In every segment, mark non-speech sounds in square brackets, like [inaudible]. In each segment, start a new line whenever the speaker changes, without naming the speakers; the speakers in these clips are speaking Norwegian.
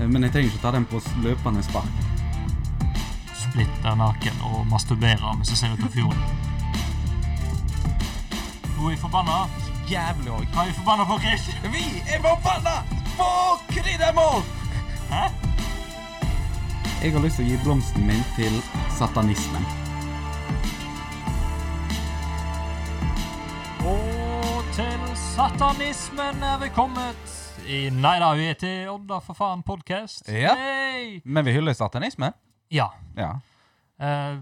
Eh, Men jeg trenger ikke ta den på s- løpende spark.
splitter naken og masturberer mens jeg ser ut av fjorden. Nå er jeg forbanna.
Jævlig òg.
Hva er jeg forbanna på, Chris?
Vi er forbanna på kryddermål!
Hæ?
Jeg har lyst til å gi blomsten min til satanismen.
Og til satanismen er vi kommet. I, nei da, vi er til Odda for faen podcast.
Ja.
Hey!
Men vi hyller satanisme.
Ja.
Ja.
Eh,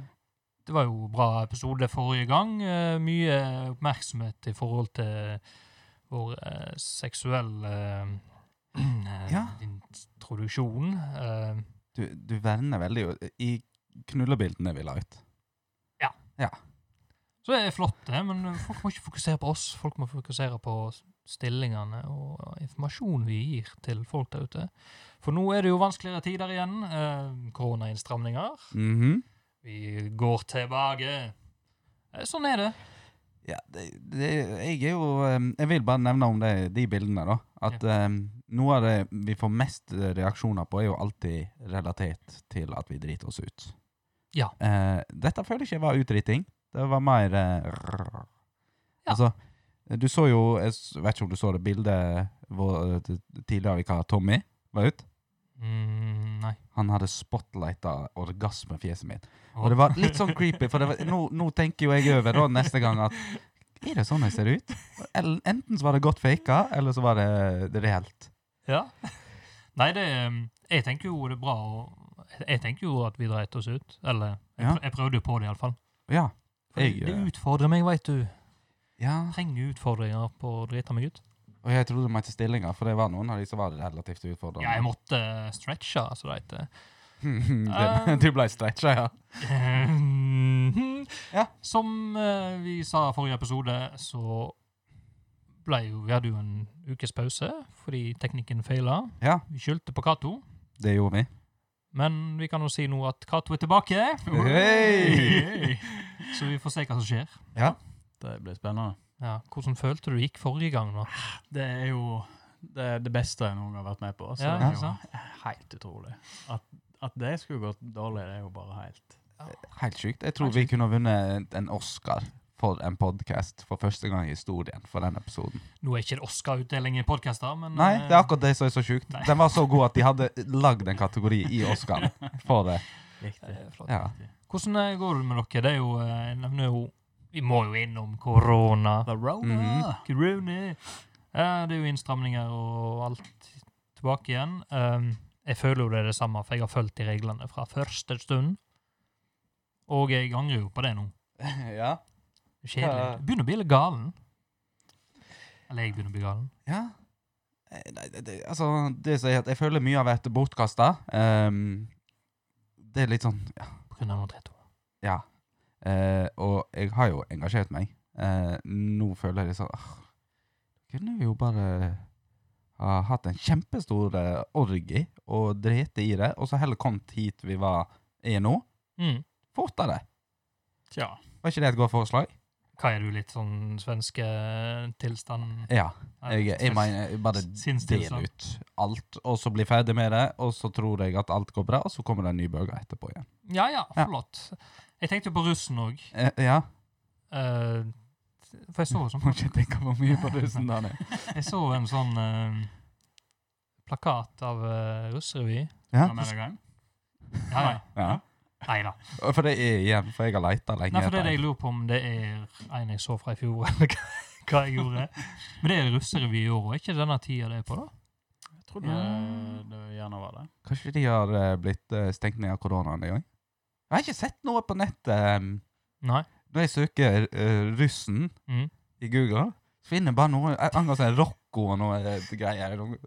det var jo bra episode forrige gang. Eh, mye oppmerksomhet i forhold til vår eh, seksuelle eh, [clears throat]
Ja.
introduksjon. Eh,
Du, du verner veldig jo- i knullebildene vi la ut.
Så det er flott, det, men folk må ikke fokusere på oss. Folk må fokusere på stillingene og informasjonen vi gir til folk der ute. For nå er det jo vanskeligere tider igjen. Eh, Koronainnstramninger.
Mhm.
Vi går tilbake. Eh, sånn er det.
Ja, det, det, jeg er jo em, Jeg vil bare nevne om det, de bildene, da. At em, noe av det vi får mest reaksjoner på, er jo alltid relatert til at vi driter oss ut.
Ja.
Eh, dette føler jeg ikke var utdriting. Det var mer eh, rrrr.
Ja.
Altså, du så jo Jeg s- vet ikke om du så det bildet hvor eh, t- tidligere vikar Tommy var ute.
Mm, nei.
Han hadde spotlighta orgasmefjeset mitt. Og det var litt sånn creepy, for det var, nå, nå tenker jo jeg over da neste gang at Er det sånn jeg ser ut? Eller, enten så var det godt faka, eller så var det det reelt.
Ja. Nei, det um, Jeg tenker jo det er bra å Jeg tenker jo at vi dreit oss ut. Eller jeg,
Ja.
prø- jeg prøvde jo på det, iallfall.
Ja. Jeg,
Det
eh,
utfordrer meg, veit du.
ja.
Trenger utfordringer på å drite meg ut.
Og jeg trodde de het stillinger, for det var noen av de som var relativt utfordrende.
Ja, jeg måtte stretche, altså det heter.
[laughs] Det- [laughs]
Ah.
du ble stretcha, ja. Ja.
Som eh, vi sa i forrige episode, så ble jo, vi hadde jo en ukes pause fordi teknikken feila.
Ja,
Vi skyldte på Cato,
det gjorde vi.
men vi kan jo si nå at Cato er tilbake.
Hei!
Så vi får se hva som skjer.
Det blir spennende.
Ja, hvordan følte du det gikk forrige gang? nå?
Det er jo det, er det beste jeg noen gang har vært med på. Så
Ja,
det er
ikke
jo
sant?
helt utrolig. At, at det skulle gått dårlig, det er jo bare helt
Helt sjukt. Jeg tror vi kunne ha vunnet en Oscar for en podkast for første gang i historien for den episoden.
Nå er ikke det Oscar-utdeling i podkaster, men
Nei,
eh,
det er akkurat det som er så sjukt.
Nei.
Den var så god at de hadde lagd en kategori i Oscar for det.
riktig.
eh, flott. [laughs]
Ja.
Hvordan eh, går det med dere? Det er jo, eh, jeg nevner jo Vi må jo innom korona.
The Rona!
Mhm.
Rooney. Eh, det er jo innstramninger og alt tilbake igjen. Um, jeg føler jo det er det samme, for jeg har fulgt de reglene fra første stund. Og jeg angrer jo på det nå.
Ja.
Kjedelig.
Ja.
Jeg Begynner å bli litt galen. Eller jeg begynner å bli galen.
Ja. Eh, Nei, det, det, altså, det som er at jeg føler mye har vært bortkasta. Ehm, det er litt sånn Ja.
På grunn av noe dritt.
ja. Eh, og jeg har jo engasjert meg. Eh, nå føler jeg litt sånn ah, Kunne vi jo bare ha hatt en kjempestor eh, orgi og drete i det, og så heller kommet hit vi var er nå,
Mm.
fortere.
Tja.
Var ikke det et godt forslag?
Hva er du litt sånn svenske tilstand?
Ja.
Nei,
Jeg, jeg
svensk-
mener, bare del
sinnstilstand.
ut alt, og så bli ferdig med det, og så tror jeg at alt går bra, og så kommer det en ny bøker etterpå igjen.
Ja, ja,
Ja.
flott. Jeg tenkte jo på russen òg.
Eh, ja.
for jeg så sånn
Må ikke tenke for mye på russen der nede.
Jeg så en sånn eh, plakat av uh, russerevy.
[laughs] Ja.
Hva mener du gang?
Ja, ja.
Ja.
Nei da.
Og For det er igjen, for jeg har leita lenge.
Nei, for det er
etter
det jeg lurer på om det er en jeg så fra i fjor, [laughs] eller hva- hva jeg gjorde. Men det er russerevy i år, og er ikke denne tida det er på, da?
Jeg trodde
Ja.
det gjerne var det.
en. Kanskje de har eh, blitt eh, stengt ned av koronaen en gang? Jeg har ikke sett noe på nettet. em.
Nei.
når jeg søker eh, russen
Mhm.
i Google, så finner jeg bare noe jeg angående sånn Rocco og noe eh, greier. Noe-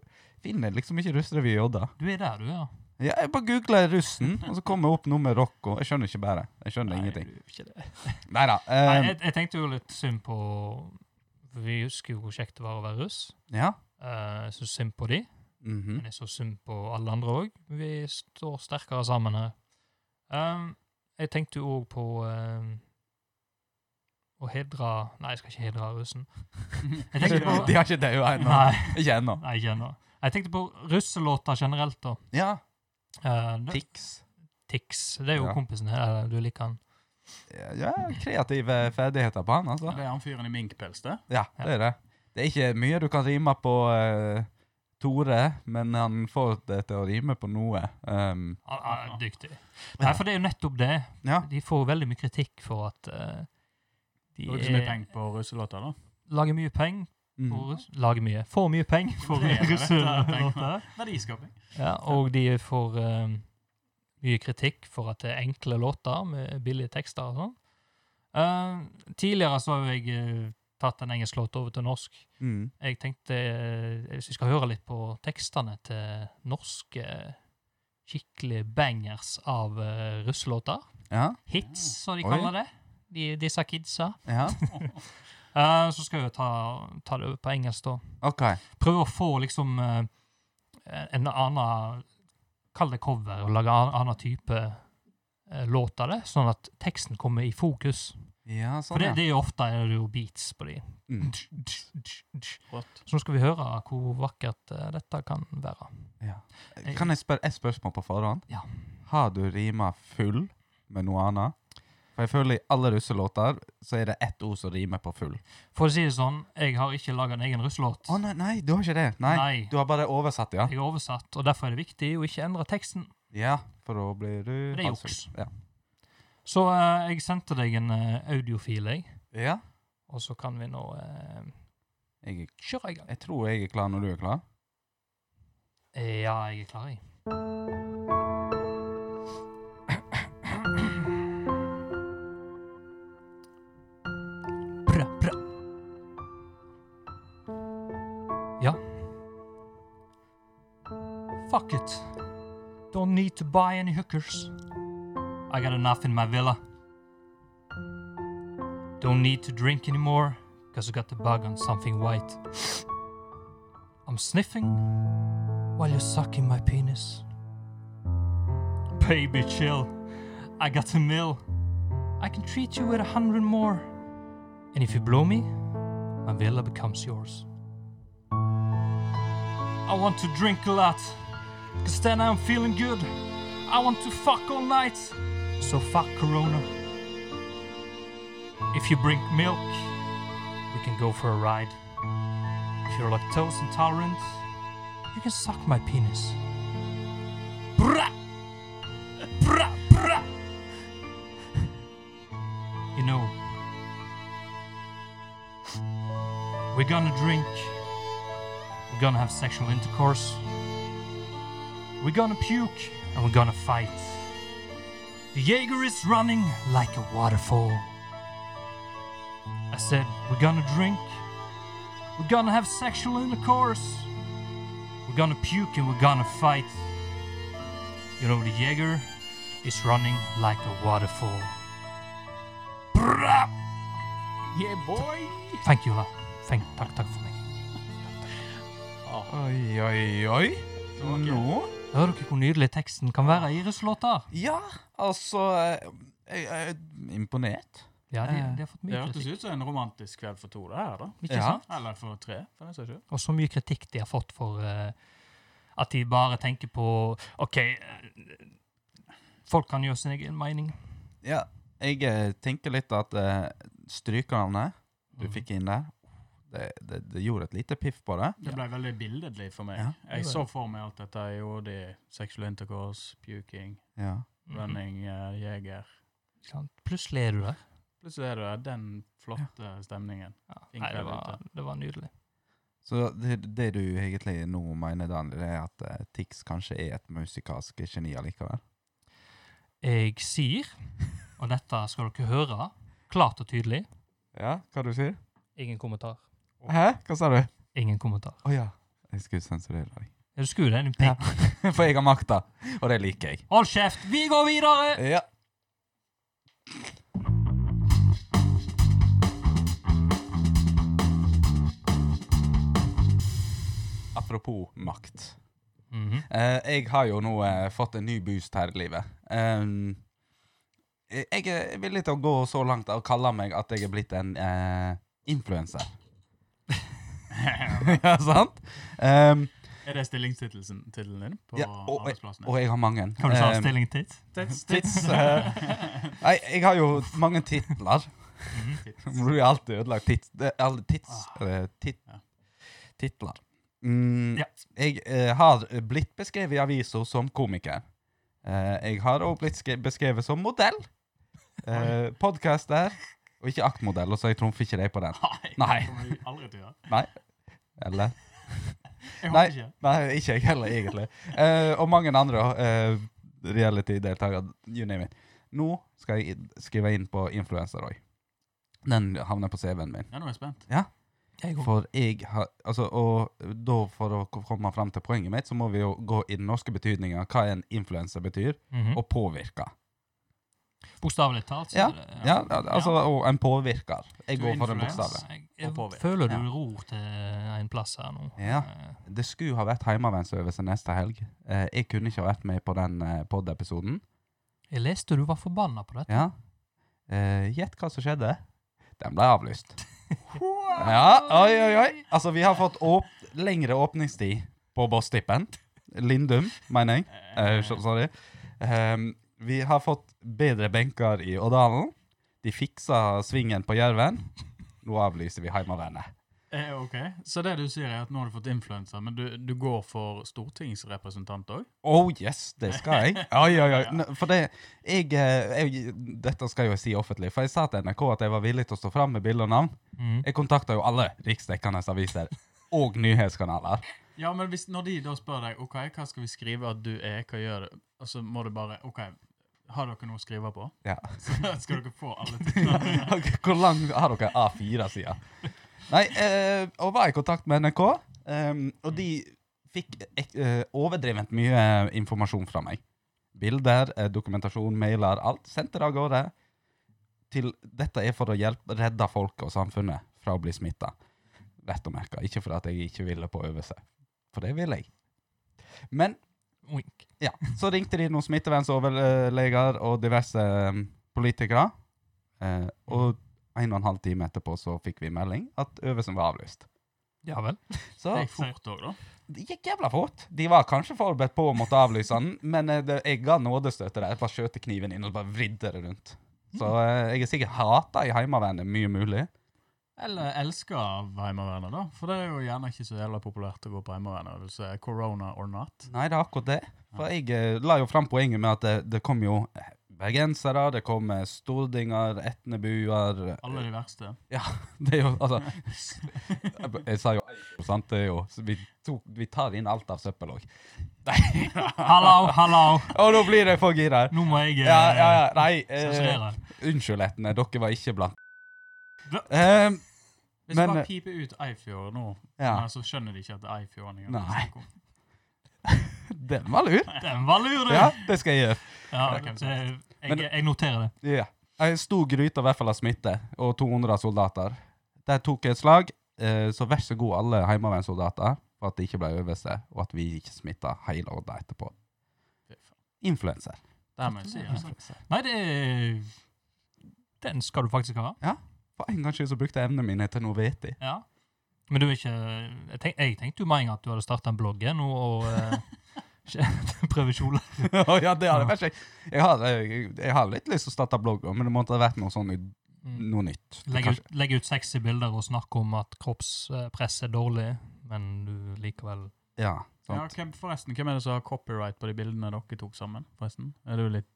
Finner liksom ikke russrevy i Odda.
Du er der, du, ja.
Ja, jeg bare googler russen, og så kommer jeg opp noe med Rocco. Jeg skjønner ikke bare. Jeg skjønner ingenting.
du, ikke det.
Neida,
Nei,
eh,
jeg, jeg tenkte jo litt synd på for Vi husker jo hvor kjekt det var å være russ.
ja.
Eh, Jeg syns synd på de,
Mhm.
men jeg syns synd på alle andre òg. Vi står sterkere sammen her. Eh, jeg tenkte jo òg på eh, å hedre Nei, jeg skal ikke hedre russen. Jeg tenkte på
[laughs] De har ikke daua ennå.
Nei.
Ikke ennå.
Nei, ikke ennå. Jeg tenkte på russelåter generelt, da.
Ja.
Eh, det-
Tix.
Tix. Det er jo
Ja.
kompisen her. eller Du liker han.
Ja, kreative ferdigheter på han, altså.
Det er han fyren i minkpels, det.
Ja, det er det. Det er ikke mye du kan rime på eh, Tore, men han får det til å rime på noe. Um,
Han han er Ah, dyktig. Nei, for det er jo nettopp det.
ja.
De får veldig mye kritikk for at eh, de
Bruker så mye
er-
penger på russelåter, da.
lager mye penger.
Mm.
på russ- Lager mye. Får mye penger for
Det er det,
russelåter.
Verdiskaping.
Ja, og de får eh, mye kritikk for at det er enkle låter med billige tekster og sånn. Eh, tidligere så har jo jeg eh, tatt en engelsk låt over til norsk.
Mm.
Jeg tenkte, eh, hvis vi skal høre litt på tekstene til norske skikkelige bangers av eh, russelåter,
Ja,
hits, som de
Oi.
kaller det, de, disse kidsa,
ja.
Eh, så skal vi jo ta, ta det over på engelsk da.
OK.
Prøve å få liksom eh, en annen, kall det cover, og lage en annen type eh, låt av det, sånn at teksten kommer i fokus.
Ja,
For
sånn,
det,
ja.
det er jo ofte er det jo beats på de.
Mm.
Rått.
Så nå skal vi høre hvor vakkert eh, dette kan være.
Kan jeg spørre et spørsmål på forhånd?
Ja.
Har du rima full med noe annet? For jeg føler i alle russelåter så er det ett ord som rimer på full.
For å si det sånn, jeg har ikke laga en egen russelåt.
Å nei, nei, du har ikke det. Nei,
Nei.
Du har bare oversatt, ja.
Jeg er oversatt, og derfor er det viktig å ikke endre teksten.
Ja, for da blir du
Det er juks.
altså, Ja.
Så eh, jeg sendte deg en eh, audiofil, jeg.
ja.
Og så kan vi nå eh,
Jeg,
kjøre i gang.
jeg tror jeg er klar når du er klar.
Ja, jeg er klar, jeg. Bra, bra. Ja. Fuck it. Don't need to buy any hookers. I got enough in my villa. Don't need to drink anymore, because I got the bug on something white. I'm sniffing while you're sucking my penis. Baby, chill. I got a mill. I can treat you with a hundred more. And if you blow me, my villa becomes yours. I want to drink a lot, cause then I'm feeling good. I want to fuck all night, so fuck Corona. If you bring milk, we can go for a ride. If you're lactose intolerant, you can suck my penis. Bra! Bra, bra! You know, we're gonna drink, we're gonna have sexual intercourse, we're gonna puke, and we're gonna fight. The Jaeger is running like a waterfall. I said, we're gonna drink, we're gonna have sexual intercourse. We're gonna puke and we're gonna fight. You know, the Jaeger is running like a waterfall. Bra!
Yeah, boy!
Thank you, Ola. Thank, takk, takk for meg.
Oi, oi, oi. Nå?
Hører dere hvor nydelig teksten kan være i russelåter?
Ja, altså eh, Jeg jeg er imponert.
Ja, de, de har fått
Det
mye
hørtes
kritikk.
ut som en romantisk kveld for to, det her, da.
Ikke
Ja.
sant?
Eller for tre, for den saks skyld.
Og så mye kritikk de har fått for eh, at de bare tenker på OK, eh, folk kan gjøre sin egen mening.
Ja, jeg eh, tenker litt at eh, strykerne du fikk inn der, det, det, det gjorde et lite piff på det.
Det ble veldig billedlig for meg.
Ja.
Jeg
Det
så
var
for meg alt dette. Jeg gjorde det sexual intercourse, puking,
Ja.
Mhm.
running, uh, jeger.
Mm, Ikke sant? Plutselig er du der.
Plutselig er det den flotte stemningen. [laughs]
Ja.
Fin
Nei, det
kveld
var, det var nydelig.
Så det, det du egentlig nå mener, Daniel, det er at eh, Tix kanskje er et musikalsk geni allikevel?
Jeg sier, og dette skal dere høre klart og tydelig
Ja, hva du sier
Ingen kommentar.
Hæ? Hva sa du? Å
Ingen kommentar.
ja. Jeg skulle sensurere deg. [laughs]
Er du skur, din pikk?
For jeg har makta, og det liker jeg.
Hold kjeft! Vi går videre!
Ja. Apropos makt.
Mhm.
Eh, jeg har jo nå eh, fått en ny boost her i livet. Ehm, jeg jeg er villig til å gå så langt og kalle meg at jeg er blitt en [laughs] eh, influenser. ja, sant? Ehm,
Er det stillingstittelen tittelen din på
Ja, og-
arbeidsplassen?
Og jeg har mange.
Hva du sa
Eh,
stilling titt?
Tits,
tits, eh, nei, jeg har jo mange titler.
Tits.
Du har alltid ødelagt tits... det er Alle tits... eh, tit,
Ja.
titler. Mm,
Ja.
Jeg eh, har blitt beskrevet i aviser som komiker. Eh, jeg har også blitt skre- beskrevet som modell. Uh, Podcaster. Og ikke aktmodell, og så jeg trumfer ikke deg på den.
Nei,
Nei.
det kommer jeg aldri til å gjøre.
Eller?
[laughs] Jeg
Nei.
håper ikke.
Nei, ikke jeg heller, egentlig. Eh, og mange andre eh, reality-deltakere. You name it. Nå skal jeg i- skrive inn på influenser òg. Den havner på CV-en min.
Ja, nå er jeg spent.
Jeg går.
For jeg har Altså, og da for å ko- komme fram til poenget mitt, så må vi jo gå i den norske betydninga hva en influenser betyr,
Mm.
Mhm.
og påvirke.
Bokstavelig talt. så
Ja,
er det-
Ja, altså, og en påvirker. Jeg
Du
går for en
influencer.
bokstav.
Jeg, jeg
Og påvirke.
føler du
Ja.
ror til en plass her nå.
Ja.
Eh,
Det skulle ha vært heimevernsøvelse neste helg. Eh, jeg kunne ikke ha vært med på den eh, pod-episoden.
Jeg leste du var forbanna på dette.
Ja. Eh, Gjett hva som skjedde. Den ble avlyst. Ja, oi, oi, oi. Altså, vi har fått åp lengre åpningstid på Boss-tippen. Lindum, mener jeg. Eh, så- sorry. Ehm, vi har fått bedre benker i Årdalen. De fiksa svingen på Jerven. Nå avlyser vi Heimevernet.
Eh, ok, Så det du sier, er at nå har du fått influensa, men du, du går for stortingsrepresentant òg?
Oh yes, det skal jeg. Oi, oi, oi. N- For det, jeg, eh, jeg Dette skal jeg jo si offentlig, for jeg sa til NRK at jeg var villig til å stå fram med bilde og navn.
Mhm.
Jeg kontakta jo alle riksdekkende aviser og nyhetskanaler. [laughs]
Ja, men hvis, når de da spør deg ok, hva skal vi skrive at du er, hva gjør du, og så må du bare OK, har dere noe å skrive på?
Ja.
[laughs] Så skal dere få
[laughs]
alle titlene.
Hvor lang har dere A4-sida? Nei, eh, og var i kontakt med NRK, ehm, og de fikk eh, overdrevent mye eh, informasjon fra meg. Bilder, eh, dokumentasjon, mailer, alt. Sendte det av gårde. Til, dette er for å hjelpe, redde folket og samfunnet fra å bli smitta. Rett å merke. Ikke for at jeg ikke ville på øvelse. For det vil jeg. Men
Wink.
ja, så ringte de noen smittevernsoverleger og diverse eh, politikere. Eh, og en og en halv time etterpå så fikk vi melding at øvelsen var avlyst.
Ja vel.
Så
Det gikk fort òg, da.
det gikk jævla fort. De var kanskje forberedt på å måtte avlyse den, men eh, det, jeg ga nådestøtet der. Jeg bare skjøt kniven inn og bare vridde det rundt. Så eh, jeg er sikkert hata i Heimevernet mye mulig.
Eller elsker av Heimevernet, da. For det er jo gjerne ikke så jævla populært å gå på Heimevernet. Corona or not.
Nei, det er akkurat det. For jeg eh, la jo fram poenget med at det, det kom jo eh, bergensere, det kom eh, stordinger, etnebuer
Alle de verste.
Det er jo, altså [laughs] s- Jeg b- Jeg sa jo sant, det er jo så vi, tok, vi tar inn alt av søppel [laughs] òg.
Hallo, hallo!
Og nå blir jeg for gira!
Nå må jeg eh,
Ja, ja, ja, nei eh,
sensurere.
Unnskyld, Etne, dere var ikke blant
Hva?
eh,
Hvis
Men,
du bare
eh,
piper ut Eifjord nå,
Ja,
men så skjønner de ikke at det er Eifjord engang.
Nei. den var lur.
Den var lur, du!
Ja, det skal jeg gjøre.
Ja,
Ok.
så jeg,
Men-
jeg, jeg noterer det.
Ja. Ei stor gryte i hvert fall av smitte, og 200 soldater. Der tok jeg et slag, eh, så vær så god alle heimevernssoldater, for at det ikke ble øvelse, og at vi ikke smitta hele Odda etterpå.
Fy faen.
Influenser.
Det her må jeg si. Altså.
Influenser.
Nei, det er Den skal du faktisk ha.
For en gangs skyld så brukte jeg evnene mine til noe vettig.
Ja. Men du er ikke Jeg, tenk, jeg tenkte jo med en gang at du hadde starta en blogg igjen nå og [laughs] eh, prøve kjole.
Å [laughs] ja, det hadde vært kjekt. Jeg har, jeg, jeg har litt lyst til å starte blogg, også, men det måtte ha vært noe, sånn, noe nytt.
Mm. Legge ut,
Kanskje-
legge ut sexy bilder og snakke om at kroppspress er dårlig, men du likevel
Ja,
Ja,
sant.
hvem, forresten, hvem er det som har copyright på de bildene dere tok sammen? forresten? Er du litt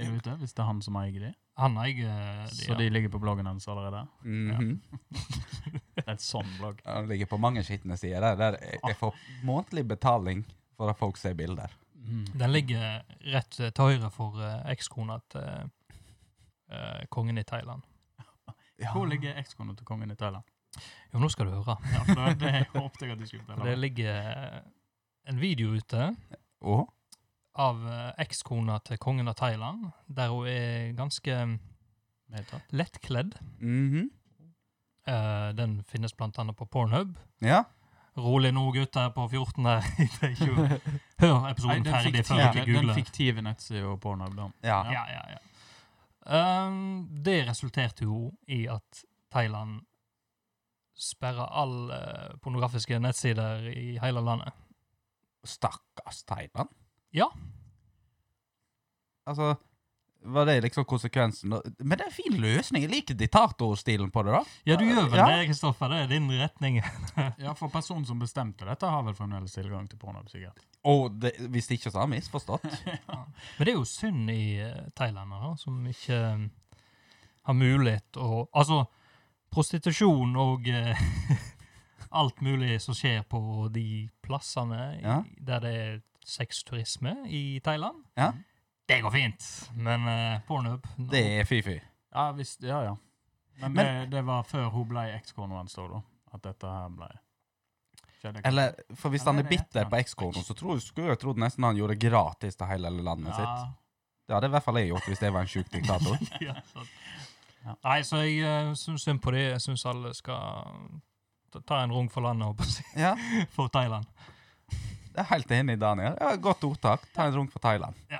er du ute, hvis det er han som eier de?
Han eier de,
Så de ligger på bloggen hans allerede?
Mhm.
Det er et sånn blogg.
Ja, Det ligger på mange skitne sider der. der jeg, jeg får
Ah.
månedlig betaling for at folk ser bilder.
Mm.
Den ligger rett eh, til høyre for eh, ekskona til eh, kongen i Thailand.
Hvor ligger ekskona til kongen i Thailand?
Jo, nå skal du høre.
Ja, for det, det håpte jeg at du skulle
For det
fortelle.
ligger eh, en video ute
Å?
av eh, ekskona til kongen av Thailand, der hun er ganske mm,
Medtatt.
lettkledd.
Mhm.
Eh, den finnes blant annet på Pornhub.
Ja.
Rolig nå, gutter på 14 [laughs] her. Det er ikke- Hør
[laughs] Nei,
episoden
den
ferdig før
fiktive,
dere
den
googler.
fiktive nettsida Pornhub, da.
Ja.
Ja, ja, ja. Ehm, det resulterte jo i at Thailand sperra all eh, pornografiske nettsider i hele landet.
Stakkars Thailand.
Ja.
Altså, var det liksom konsekvensen? da? Men det er en fin løsning. Jeg liker diktatorstilen på det, da.
Ja, du gjør vel
Ja.
det, Kristoffer. Det er din retning.
Ja, for personen som bestemte dette, har vel fremdeles tilgang til porno, sikkert.
Og det, hvis det ikke så har jeg misforstått.
Men det er jo synd i eh, Thailand, da, som ikke eh, har mulighet å Altså, prostitusjon og eh, [laughs] alt mulig som skjer på de plassene i,
Ja.
der det er sexturisme i Thailand,
Ja.
det går fint. Men eh, pornhub no.
Det er fy-fy.
Ja, visst, ja, ja. Men,
Men-
det, det var før hun ble ekskona hans, da, da, at dette her ble skjedde. kanskje.
Eller, for hvis
Ja,
han
det
er
er det.
bitter på ekskonen, så tror, skulle jeg trodd nesten han gjorde det gratis til hele landet sitt. Det hadde i hvert fall jeg gjort hvis jeg var en sjuk
[laughs]
diktator.
[laughs] ja, sant. Nei, så jeg uh, syns synd på det. Jeg syns alle skal ta- ta en rung for landet, holdt jeg på å si. [laughs]
Ja,
For Thailand.
jeg er helt enig, Daniel. Ja, godt ordtak. Ta en runk for Thailand.
Ja.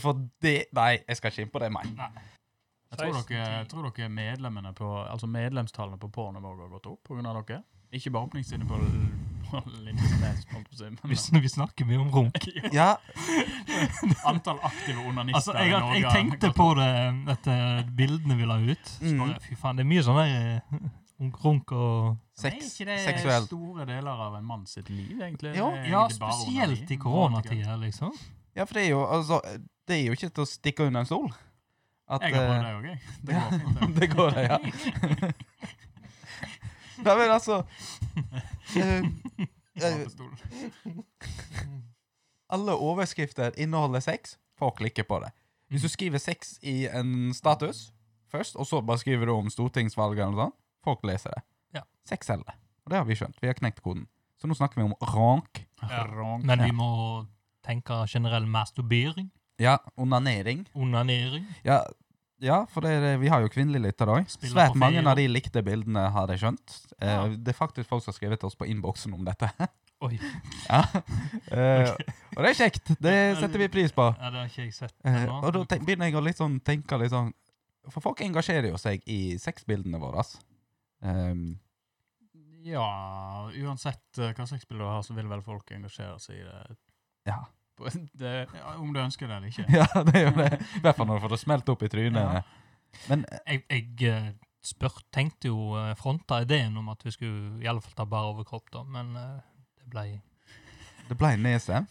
For det Nei, jeg skal ikke inn på det, meg.
Jeg tror
16,
dere,
10.
tror dere medlemmene på, altså medlemstallene på Pornhub har gått opp på grunn av dere? Ikke bare åpningstidene på, [laughs] på Lindesnes, holdt på å si,
Vi,
men
sn- vi snakker mye om runk.
Ja,
antall aktive onanister
Altså, jeg,
i Norge
jeg
har
tenkte
gått
på
opp.
det etter bildene vi la ut. Så
Mm.
bare, fy faen, det er mye sånn der eh, runk- runk og
sex,
Er ikke det
seksuelt.
store deler av en mann sitt liv, egentlig?
Jo,
Det er
Ja,
egentlig bare
spesielt
onani.
i koronatida, liksom.
Ja, for det er jo altså Det er jo ikke til å stikke under en stol. At,
Jeg har
eh,
prøvd det
[laughs]
òg, jeg. Det går fint.
[laughs]
det.
det går, det,
[laughs]
ja. Nei, men altså
[laughs]
eh, eh,
Stol.
Alle overskrifter inneholder sex. Folk klikker på det. Hvis
Mm.
du skriver sex i en status først, og så bare skriver du om stortingsvalget eller noe sånt, folk leser det.
Ja.
Sex selger. Og det har vi skjønt. Vi har knekt koden. Så nå snakker vi om rank.
Ja.
Rank.
Men vi må tenke generell masturbering,
Ja, onanering.
onanering.
Ja, ja for det, er det- vi har jo kvinnelige lyttere òg.
Spiller
Svært
på
mange
ferie.
av de likte bildene, har jeg skjønt. Eh,
Ja.
Det er faktisk folk som har skrevet til oss på innboksen om
[laughs]
dette.
Oi,
ja. Eh, Og det er kjekt. Det setter vi pris på.
ja, det har ikke jeg sett.
Eh,
ennå.
og da tenk, begynner jeg å litt sånn, tenke litt sånn For folk engasjerer jo seg i sexbildene våre. ass. Ehm, [laughs]
Ja, uansett eh, hva slags bilde du har, så vil vel folk engasjere seg i det.
Ja.
På- det ja, om du ønsker det eller
[laughs]
ikke.
ja, det er jo det. I hvert fall når du får det smelt opp i trynet.
Ja.
Men eh,
Jeg, jeg eh, spør, tenkte jo eh, fronta ideen om at vi skulle i alle fall ta bare overkropp, da, men eh, det ble
det ble nedstemt.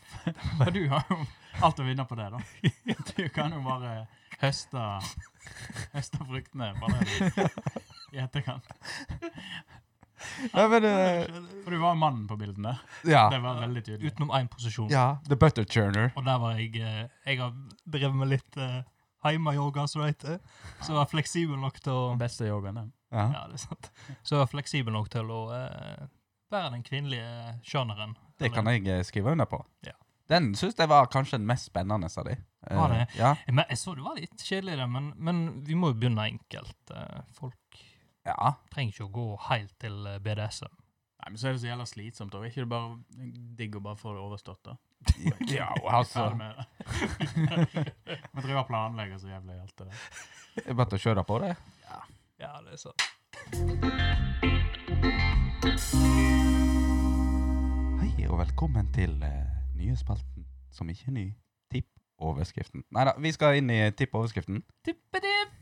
For du har jo alt å vinne på det, da. Du kan jo bare høste, høste fruktene bare i etterkant.
Ja, men eh,
For du var mannen på bildene.
ja.
Det var veldig tydelig.
utenom én posisjon.
ja. The butter churner.
Og der var jeg eh, Jeg har drevet med litt eh, heimeyoga, som det heter. Så jeg var fleksibel nok til å
Beste yogaen, den.
Ja.
Ja, det er sant. Så jeg var fleksibel nok til å eh, være den kvinnelige sjangeren.
Det kan jeg eh, skrive under på.
Ja.
Den syns jeg var kanskje den mest spennende av de. Eh,
Var det?
Ja.
Men jeg så det var litt kjedelig, det, men, men vi må jo begynne enkelt. Eh, folk
ja.
trenger ikke å gå helt til eh, BDSM.
Nei, men så er det så jævla slitsomt. Er ikke det bare digg å bare få det overstått, da?
Ja, [laughs] altså.
Ferdig med det. [laughs] Vi driver og planlegger så jævlig alt det der.
Det er bare å kjøre på det.
Ja, det er sant.
Hei og velkommen til eh, nye spalten som ikke er ny. Tippoverskriften. Nei da, vi skal inn i tippoverskriften.
Tippedipp!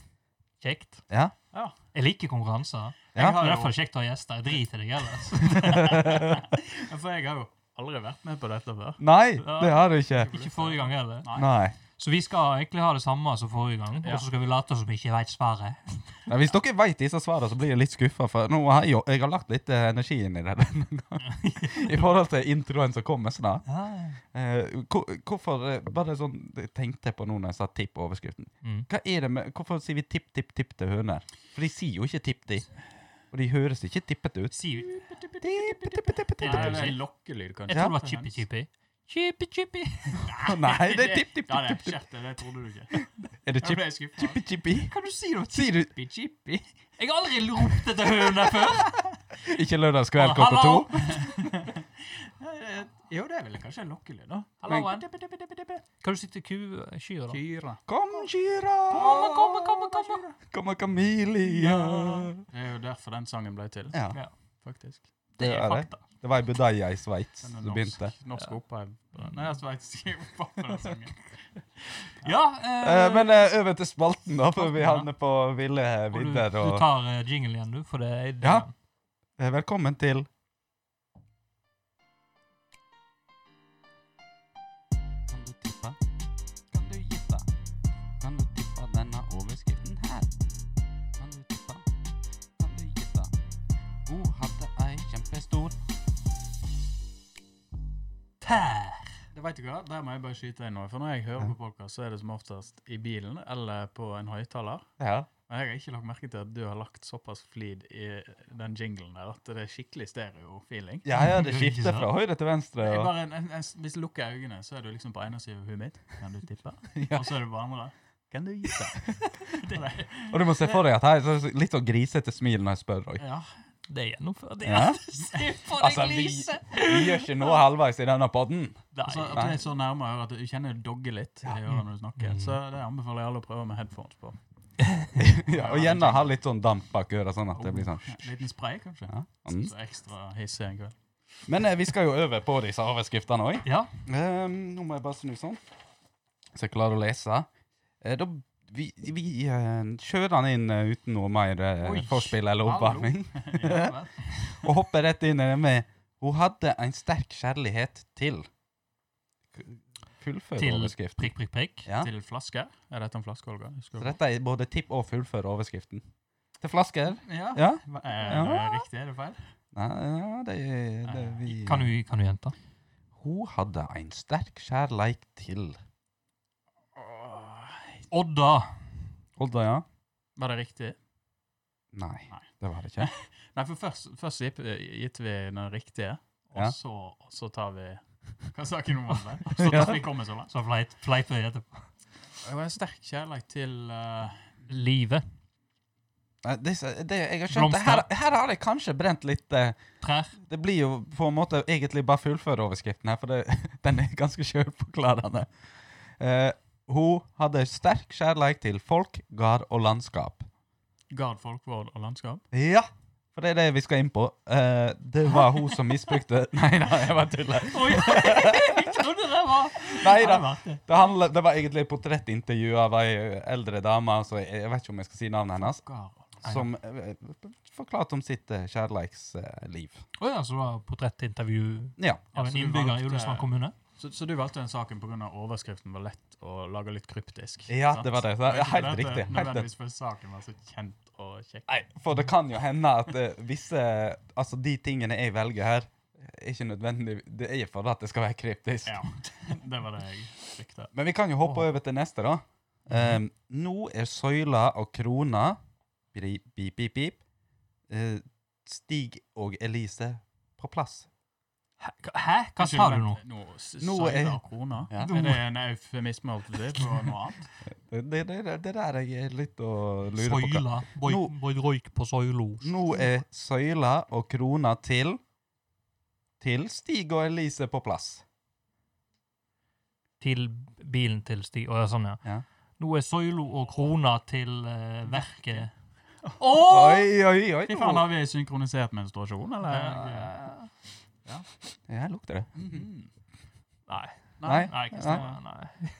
Kjekt.
Ja.
Ja.
Jeg liker konkurranser.
Ja.
Det er derfor kjekt å ha gjester. Jeg driter i deg ellers.
Ja, For jeg har jo aldri vært med på dette før.
Nei, det har du ikke.
Ikke forrige gang heller.
Nei.
Nei.
Så vi skal egentlig ha det samme som forrige gang,
Ja.
og så skal vi late som vi ikke veit svaret.
Nei, hvis dere veit disse svarene, så blir jeg litt skuffa, for nå har jeg, jo- jeg har lagt litt eh, energi inn i det [laughs] denne gangen. I forhold til introen som kommer snart. Eh, hvor, hvorfor eh, Bare sånn jeg tenkte på nå når jeg sa tippoverskriften.
Mm.
Hva er det med Hvorfor sier vi tipp, tipp, tipp til høner? For de sier jo ikke tipp, de. Og de høres ikke tippete ut.
Si,
Tipp, tipp, tipp, tipp,
Nei,
tipp,
det er
tipp.
en lokkelyd, kanskje.
jeg tror det var chippy-chippy. Chippy-chippy.
Nei, det er tipp, tipp,
Ja,
tipp.
det er
tipp.
kjeft, det trodde du ikke.
Er det
Jeg
chip,
ble skuffet.
chippi, chippi?
Kan du si noe?
Sier du
Chippi, chippi.
Jeg har aldri ropt etter høne før.
ikke lørdagskveld klokka
Hallo?
to?
Nei, det- Jo, det er vel kanskje en lokkelyd, da.
Halloen.
Men-
Kan du si til ku, eh, kyr, da?
Kyra.
Kom, kyra!
Komme, komme, komme, komme.
Kommer kamelier.
Det er jo derfor den sangen ble til,
Ja.
Ja.
faktisk.
Det
Det
er
er
det.
fakta.
Det var i Budaya i Sveits
Den er
du begynte.
Norsk, norsk opera. Nei, jeg vet ikke hva for den sangen. Ja, eh,
Eh, men eh, over til spalten, da, før vi
Spalten, ja.
havner på ville
Og du,
vidder.
du
Og,
tar eh, jingle igjen, du, for det er
Ja. Eh, velkommen til Kan du tippe? Kan du gjette? Kan du tippe denne overskriften her? Kan du tippe? Kan du gjette? Hun hadde ei kjempestor
Tær.
det vet du hva, der må jeg bare skyte inn nå. For når jeg hører på podcast, så er det som oftest i bilen eller på en høyttaler.
Ja.
Men jeg har ikke lagt merke til at du har lagt såpass flid i den jinglen der at det er skikkelig stereo-feeling.
ja, ja, det skifter fra høyre til venstre.
Jeg
Og,
bare, en, en, en, hvis jeg lukker øynene, så er du liksom på ene siden av huet mitt. Kan du tippe?
[laughs] Ja.
Og så er du på andre. Kan du gjette? det,
og du må se for deg at her er det litt sånn grisete smil når jeg spør deg.
ja.
Det er gjennomført. Ja.
Ja.
Se på deg,
Altså, vi,
Lise!
vi gjør ikke noe halvveis i denne podden.
Altså, at
Nei.
det er så nærme øret at du kjenner det dogger litt i øret når du snakker.
Mm.
Så det anbefaler jeg alle å prøve med headphones på.
Ja, og gjerne ha litt sånn damp bak øret, sånn at det blir sånn.
Ja, Liten spray, kanskje.
Ja. Mm.
Så ekstra hissig en kveld.
Men eh, vi skal jo over på disse overskriftene òg.
Ja.
nå må jeg bare snu sånn, så jeg klarer å lese. Eh, da vi, vi eh, kjører den inn eh, uten noe mer eh,
Oi,
forspill eller
hallo.
oppvarming,
[laughs] ja vel.
og hopper rett inn i det med 'Hun hadde en sterk kjærlighet til'. Fullfør
Til
overskriften.
prikk, prikk, prikk.
Ja.
Til flasker. Er dette en flaske, Olga? Husker
Så
du?
dette er både tipp og fullfør overskriften. Til flasker.
Ja.
Ja.
Hva- eh, Er det
Ja.
riktig? Er det feil?
Nei, ja, det, det
Eh,
vi
Kan du, kan du gjenta?
Hun hadde en sterk kjærleik til
Odda.
Odda, ja?
Var det riktig?
Nei,
Nei.
det var det ikke.
Nei, for først, først gitt- gitt vi den riktige, og
Ja.
så, så tar vi Hva sa ikke noe om
[laughs]
det? Så tar vi kommer så langt.
Så fleip, fleiper jeg etterpå.
Det var en sterk kjærlighet til eh,
Livet.
Nei, det, det, jeg har skjønt, det. her,
Blomster.
her har jeg kanskje brent litt eh,
Trær.
Det blir jo på en måte egentlig bare fullføre overskriften her, for det, [laughs] den er ganske sjølforklarende. Eh, hun hadde sterk kjærleik til folk, gard og landskap.
gard, folkvård og landskap.
Ja! For det er det vi skal inn på. Eh, det var hun som misbrukte [laughs] Nei da, jeg bare tuller.
[laughs]
Oi, jeg trodde det var
Nei da.
var det.
Det, handler, det var egentlig et portrettintervju av ei eldre dame, altså, jeg, jeg vet ikke om jeg skal si navnet hennes,
Gard.
som eh, forklarte om sitt eh, kjærleiksliv.
Å ja, så det var portrettintervju
Ja.
av
så
en
du
innbygger
valgte-
i Ullensvang kommune?
Så, så du valgte den saken pga. overskriften var lett å lage litt kryptisk?
ja,
sant?
det var det. Så,
Det var
ja,
ikke
helt
fordi at
riktig.
det
Helt riktig.
Nødvendigvis fordi saken var så kjent og kjekk.
Nei, for det kan jo hende at eh, visse Altså, de tingene jeg velger her, er ikke nødvendig Det er for at det skal være kryptisk.
Ja, [laughs] det var det jeg frykta.
Men vi kan jo hoppe
Åh.
over til neste, da.
Mhm.
Ehm, nå er søyla og krona Pip, pip, pip. pip. Eh, Stig og Elise på plass.
Hæ? Hæ? Hva sa du nå?
Nå,
Nå
nå
er-
er krona.
Ja.
Er det en eufemisme holdt jeg på å si, for noe
[laughs]
annet?
Det, det, det, det der jeg er litt og lurer på. hva-
Søyla. Boy,
Nå-
boy røyk på søyla.
Nå er søyla og krona til Til Stig og Elise på plass.
Til bilen til Stig. Å ja, sånn, ja.
Ja.
Nå er søyla og krona til eh, verket. Å!
Oi, oi, oi!
Fy faen,
nå-
har vi synkronisert menstruasjon, eller?
Ja, jeg lukter det.
Mhm.
Nei.
Nei.
Nei, ikke sant? Nei.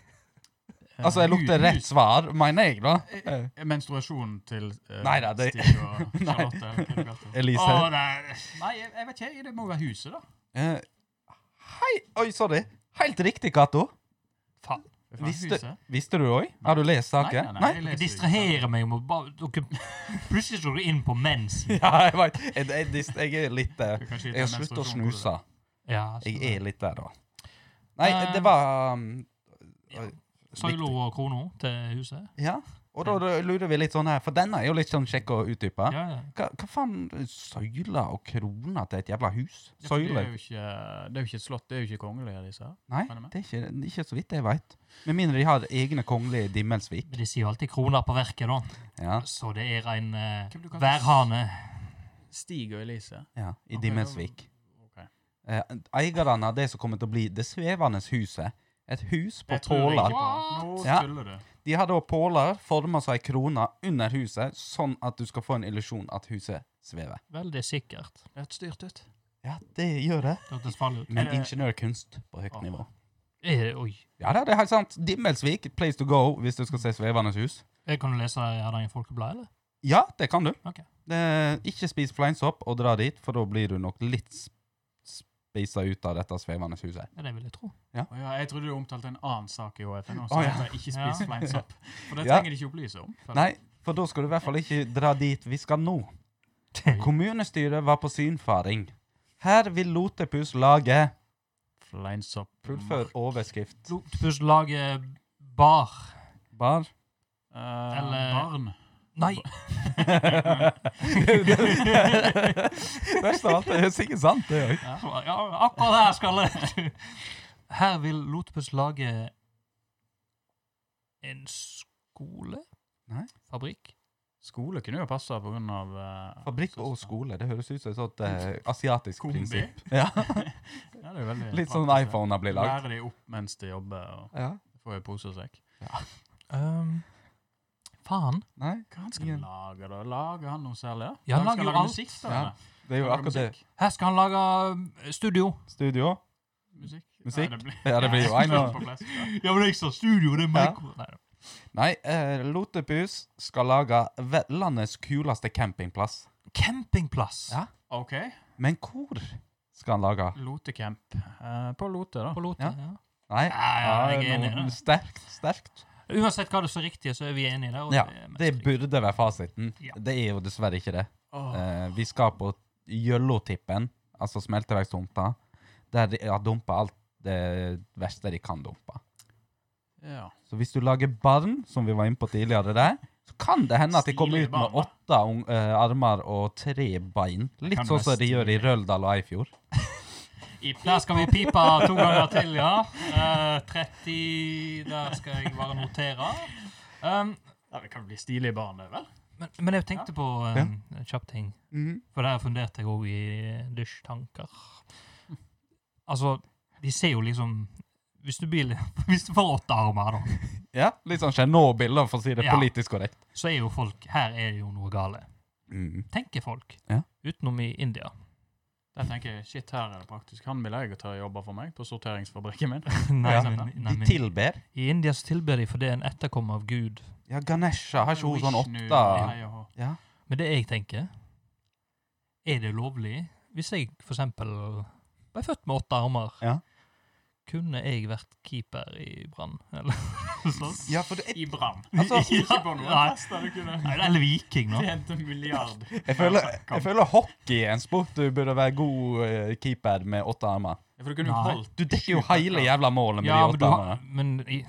Altså, jeg lukter rett svar, mener jeg, da. Eh,
Eh, Menstruasjon til eh,
Nei da, det-
Stig og
[laughs] Nei.
Charlotte. eller hva det kalte.
Elise.
Å, nei. nei, jeg, jeg vet ikke. Det må jo være huset, da.
eh, hei Oi, sorry. Helt riktig, Cato.
Faen.
Det er
Visste,
huset.
visste du det òg? Har du lest saken? Nei?
jeg
Dere
leser ikke.
distraherer meg med å bare dere, Plutselig står du inn på mens.
[laughs] Ja, jeg veit. Jeg, jeg, dis- jeg er litt eh,
Du kan skyte
Jeg har
en
sluttet å
menstruasjon,
snuse.
Ja,
Jeg er litt der, da. Nei, det var um,
Søyla og krona til huset.
Ja. Og da da lurer vi litt sånn her, for denne er jo litt sånn kjekk å utdype.
Ja, ja.
Hva, hva faen Søyler og kroner til et jævla hus?
Ja, for Det er
Søyler?
jo ikke, det er jo ikke et slott, det er jo ikke kongelig av disse her.
Nei, det er ikke, ikke så vidt jeg veit. Med mindre de har egne kongelige i Dimmelsvik.
Men de sier jo alltid kroner på verket, da.
Ja,
Så det er en eh,
Hvem du kaller-
værhane.
Stig og Elise.
ja i
Ok, da-
Dimmelsvik.
ok.
Eh, Eierne av det som kommer til å bli Det svevende huset. Et hus på
Det tror jeg
påler.
ikke på. Nå
Ja.
tuller du.
De har da påler forma som ei krone under huset, sånn at du skal få en illusjon at huset svever.
Veldig sikkert.
Det er et styrt ut.
Ja, det gjør det.
Det hørtes farlig ut.
Men
Er det-
ingeniørkunst på høyt nivå.
Er det, Eh, oi.
Ja, det er helt sant. Dimmelsvik, place to go hvis du skal se svevende hus.
Jeg kan jo lese det i Hardanger Folkeblad, eller?
Ja, det kan du.
Ok.
Det, ikke spis fleinsopp og dra dit, for da blir du nok litt sp- spisa ut av dette svevende huset.
Ja, det vil jeg tro.
Å ja, jeg trodde du omtalte en annen sak i HF. Nå,
Å
som
ja.
heter Ikke spis
Ja.
[laughs]
fleinsopp. For det
Ja.
trenger de ikke opplyse om. føler jeg.
Nei, for da skal du i hvert fall ikke dra dit vi skal nå. Kommunestyret var på synfaring. Her vil Lotepus lage
Fleinsopp.
Fullfør overskrift.
Lotepus lager bar.
Bar. [laughs]
Eh,
Eller-
barn.
Nei,
Verst av alt, det er sikkert sant. det er jo.
ja, ja, akkurat her skal jeg. Her vil Lotepus lage en skole?
Nei.
Fabrikk?
Skole kunne jo passe på grunn av eh,
Fabrikk og skole, det høres ut som et sånt eh, asiatisk
Kombi.
prinsipp. Ja. [laughs]
Ja, det er jo veldig
Litt sånn
praktisk, det.
iPhoner blir lagd.
Lære de opp mens de jobber, og
Ja.
får jo pose og sekk.
Um, faen.
Nei,
Hva han skal
Ja.
lage, da? Lager han noe særlig? da?
Ja, han
skal
lager jo alt.
musikk, da?
Ja,
eller?
det er jo
Lager
akkurat det.
musikk?
Her skal han lage eh, studio.
Studio.
Musikk?
Musikk?
Nei, det blir-
Ja, det blir jo en
På plass, ja.
Ja, men jeg sa studio, det er
Ja.
mikro... Nei,
Nei, eh, Lotepus skal lage ve- landets kuleste campingplass.
Campingplass
Ja.
OK.
Men hvor skal han lage?
Lotecamp. Eh, på Lote, da.
på Lote.
Ja.
Ja.
Nei,
Ja, ja, jeg er
eh,
enig i
noe-
det.
Sterkt, sterkt.
Uansett hva det er riktig, så er vi enige der. og
Ja,
er mest
Det
riktig.
burde være fasiten.
Ja.
Det er jo dessverre ikke det.
Åh.
Eh, vi skal på Jøllotippen, altså smelteverkstomta, der de har dumpa alt det verste de kan dumpe.
Ja.
Så hvis du lager barn, som vi var inne på tidligere der, så kan det hende at de kommer
Stilige
ut med
barn, da.
åtte ung- eh, armer og tre bein. Litt
kan
sånn
være
som de gjør i Røldal og Eifjord.
I pla-
Der skal vi pipe to ganger til, ja. Eh, 30 Der skal jeg bare notere. Um,
Ja, det kan bli stilige barn, det, vel?
men, men jeg tenkte på um, en kjapp ting,
Mhm.
for der funderte jeg òg i dusjtanker. Altså, de ser jo liksom Hvis du, blir, [laughs] hvis du får åtte armer, da,
Ja, litt sånn Tsjernobyl, da, for å si det
Ja.
politisk korrekt.
så er jo folk Her er det jo noe gale.
Mhm.
Mm.
Tenker folk.
Ja.
Utenom i India. [laughs]
Der tenker jeg, shit, her er det praktisk. Han vil jeg ta og jobbe for meg på sorteringsfabrikken min.
Nei,
Ja.
men, nei,
De
men
tilber.
I India så tilber de for det er en etterkommer av Gud.
Ja, Ganesha, har ikke hun sånn
Vishnu,
åtte
hei og hå.
Ja.
Men det jeg tenker, er det lovlig hvis jeg for eksempel ble født med åtte armer?
Ja.
Kunne jeg vært keeper i Brann, [laughs] eller sånn?
ja, for det,
[laughs]
I
[laughs]
brann.
Altså,
ikke på noen
nei.
fest der du kunne
Nei, Eller [laughs] Viking, da.
tjent en milliard.
Jeg føler, jeg føler hockey er en sport du burde være god eh, keeper med åtte armer.
Ja, For du kunne jo
Nei.
holdt
Du dekker jo hele jævla målet med
Ja,
de
men du
åtte
har,
armene.
men i,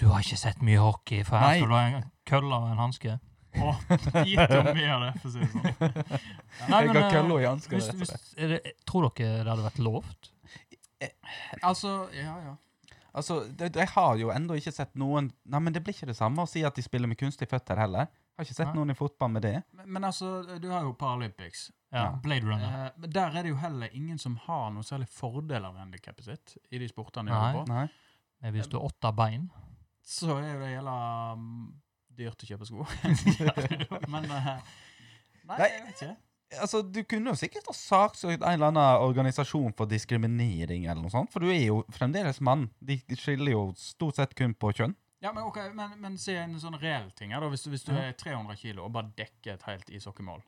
du har ikke sett mye hockey, for
Nei.
her skal du ha en kølle og en hanske.
og gitt om mye av det, for å si det sånn.
Nei,
Jeg
men,
har
eh,
kølla i hanska.
hvis, hvis, er det, tror dere det hadde vært lovt?
Altså, ja, ja.
Altså, de, de har jo ennå ikke sett noen Nei, men det blir ikke det samme å si at de spiller med kunstige føtter heller. Har ikke sett
Nei.
noen i fotball med det.
Men, men altså, du har jo Paralympics.
Ja,
Ja.
Blade Runner.
Eh, men der er det jo heller ingen som har noe særlig fordel av handikappet sitt i de sportene de
Nei.
holder på.
Nei.
Men Hvis du har åtte bein
Så er jo det gjelda um, dyrt å
[laughs]
kjøpe sko. men eh, Nei,
Nei.
jeg vet ikke.
Altså, Du kunne jo sikkert ha saksøkt en eller annen organisasjon for diskriminering, eller noe sånt, for du er jo fremdeles mann. De skiller jo stort sett kun på kjønn.
Ja, Men ok, men, men se en sånn reell ting her, da. Hvis du, hvis du er 300 kilo og bare dekker et helt ishockeymål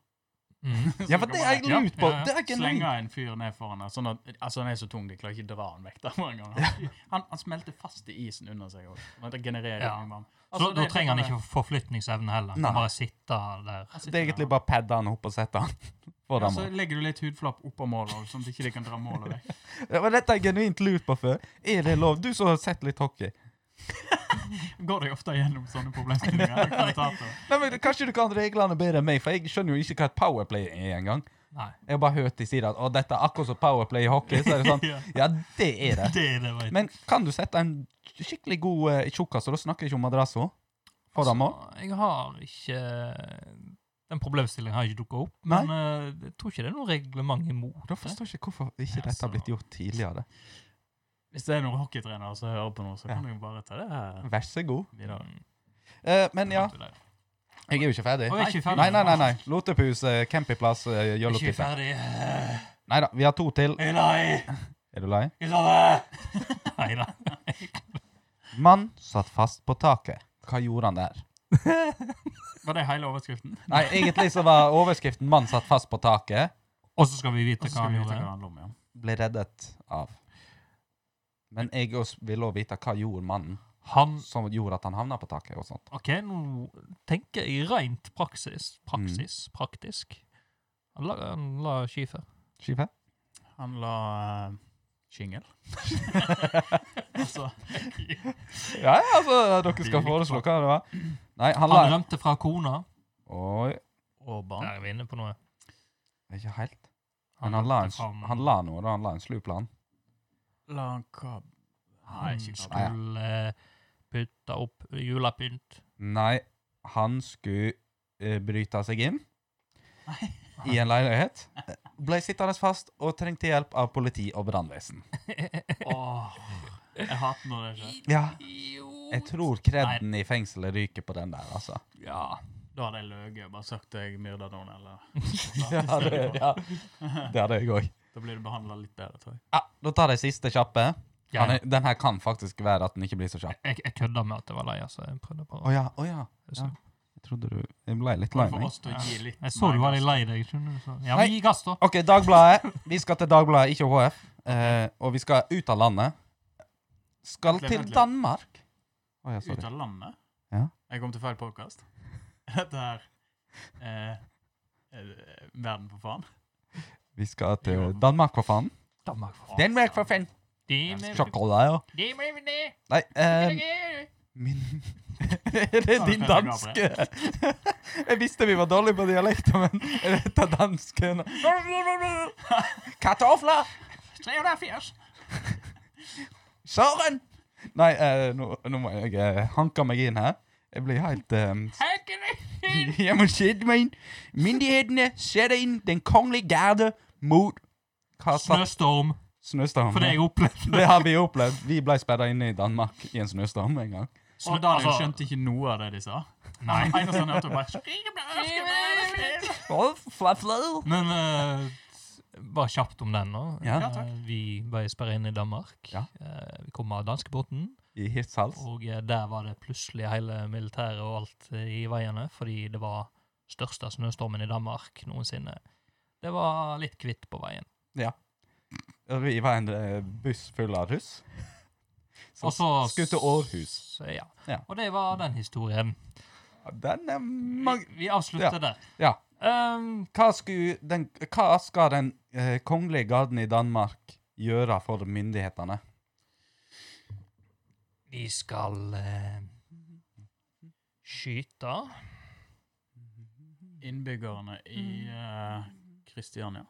[laughs]
mm.
Ja, for det er jeg lurt på!
Ja, ja.
Det er ikke en
Slenger en fyr ned foran her, sånn at altså han er så tung de klarer ikke dra han vekk. der mange ganger. Han, han smelter fast i isen under seg sånn òg.
Ja. Så
Altså,
da
det-
trenger han ikke forflytningsevne heller. Han
Nei.
kan bare sitte der.
Det er egentlig bare padda han opp og sette han [laughs]
Ja,
foran
så
mål.
legger du litt hudflapp oppå målet, sånn at ikke de kan dra målet vekk. [laughs]
Ja, men dette er jeg genuint lurt på før. Er det lov? Du som har sett litt hockey.
Går de ofte gjennom sånne problemstillinger? kommentatorer?
Nei, men Kanskje du kan reglene bedre enn meg, for jeg skjønner jo ikke hva et powerplay er engang.
Nei.
Jeg har bare hørt de si at å, dette er akkurat som powerplay i hockey. Så er det
[laughs]
sånn,
Ja.
ja, det er det.
Det, det var
Men kan du sette en skikkelig god eh, tjukkas, og da snakker jeg ikke om madrasso, foran mål?
Altså, jeg har ikke Den problemstillingen har ikke dukka opp. Men eh, jeg tror ikke det er noe reglement imot
Da
det.
forstår jeg ikke hvorfor ikke
Ja,
dette har blitt
så-
gjort tidligere.
Hvis det er noen hockeytrenere som hører på nå, så kan du jo bare ta det her
Vær så god.
videre.
Mm.
Eh, men ja,
Fant du det?
jeg er jo ikke ferdig.
Og jeg er ikke ferdig.
Nei, nei, nei. nei. Lotepus, eh, campingplass, eh,
Jeg er ikke
jollotippe.
ferdig.
Nei da, vi har to til.
Eli!
Er du lei?
Kristoffer!
[laughs] Nei da.
Mann satt fast på taket. Hva gjorde han der?
Var det hele overskriften?
Nei, egentlig så var overskriften 'Mann satt fast på taket'
Og så skal vi
Og
vite hva
så skal
han
vi vite hva
gjorde.
det handler om, ja.
ble reddet av. Men jeg også vil òg vite hva gjorde mannen
Han
som gjorde at han havna på taket. og sånt.
OK, nå tenker jeg rent praksis. Praksis.
Mm.
Praktisk. Han la, han la skifer.
Skive?
Han la eh, Shingle. altså,
Ja, ja, altså, dere skal foreslå hva det var. Nei, han
Han
la
rømte fra kona.
Oi,
og barn.
Der er vi inne på noe.
ikke helt. Men han la,
rømte
en,
fram-
han la noe, da. Han la en slu plan.
La han hva? Nei,
Han
Nei,
ikke
ja.
skulle eh, putte opp julepynt.
Nei, han skulle eh, bryte seg inn
Nei.
i en leilighet. Ble sittende fast og trengte hjelp av politi og brannvesen.
Åh, jeg hater når det skjer.
Ja,
Jo
jeg tror kredden i fengselet ryker på den der, altså.
Ja.
Da hadde jeg løyet og bare sagt jeg myrda noen, eller
Ja, det, ja. det hadde jeg òg.
Da blir du behandla litt bedre, tror jeg.
Ja, da tar jeg siste kjappe.
Ja,
Han er, den her kan faktisk være at den ikke blir så kjapp.
Jeg, jeg kødda med at det var leia, så jeg prøvde
Å
bare
ja, å ja.
Så-
Jeg trodde du Jeg ble litt lei
Bare for
meg.
oss til å gi litt
Jeg så
mer
du var
gass.
litt lei deg. skjønner du, så- Ja,
Nei.
vi gir gass, da.
OK, Dagbladet. Vi skal til Dagbladet, ikke HF. Eh, og vi skal ut av landet. Skal
Vent litt,
til
vent litt.
Danmark. Å ja,
Ut
sorry.
av landet?
Ja.
Jeg kom til feil podkast. [laughs] Dette her eh, eh, Verden for faen.
Vi skal til Danmark, for faen.
Danmark, for faen.
Danmark, for faen. Sjokolade, ja. Nei eh, Min [laughs] Er det din danske? [laughs] Jeg visste vi var dårlige på dialekter, men er dette dansken? Kartofler!
380!
Søren! Nei, eh, nå, nå må jeg eh, hanke meg inn her. Jeg blir helt eh,
[laughs]
[laughs] Jeg må sette meg inn. Myndighetene setter inn Den kongelige garde mot Hva sa
Snøstorm.
Snøstorm.
For det jeg opplevde.
Det har vi opplevd. Vi ble sperra inne i Danmark i en snøstorm en gang.
Og Daniel skjønte ikke noe av det de sa.
altså-
[laughs]
Nei.
Eneste han hørte, var bare
Men eh, bare kjapt om den nå.
Ja.
Ja, takk.
Eh, vi ble sperret inn i Danmark.
Ja.
Eh, vi kom av danskebåten,
I Hirtshals.
og eh, der var det plutselig hele militæret og alt eh, i veiene, fordi det var største snøstormen i Danmark noensinne. Det var litt kvitt på veien.
Og Vi var en eh, buss full av russ. Som
Og så-
skulle til Århus.
Så, ja.
Ja.
Og det var den historien.
Den er mang...
Vi avslutter
Ja.
der.
Ja.
Ehm,
Hva, skulle den, hva skal den eh, kongelige garden i Danmark gjøre for myndighetene?
vi skal eh, skyte.
Innbyggerne i eh, Kristiania.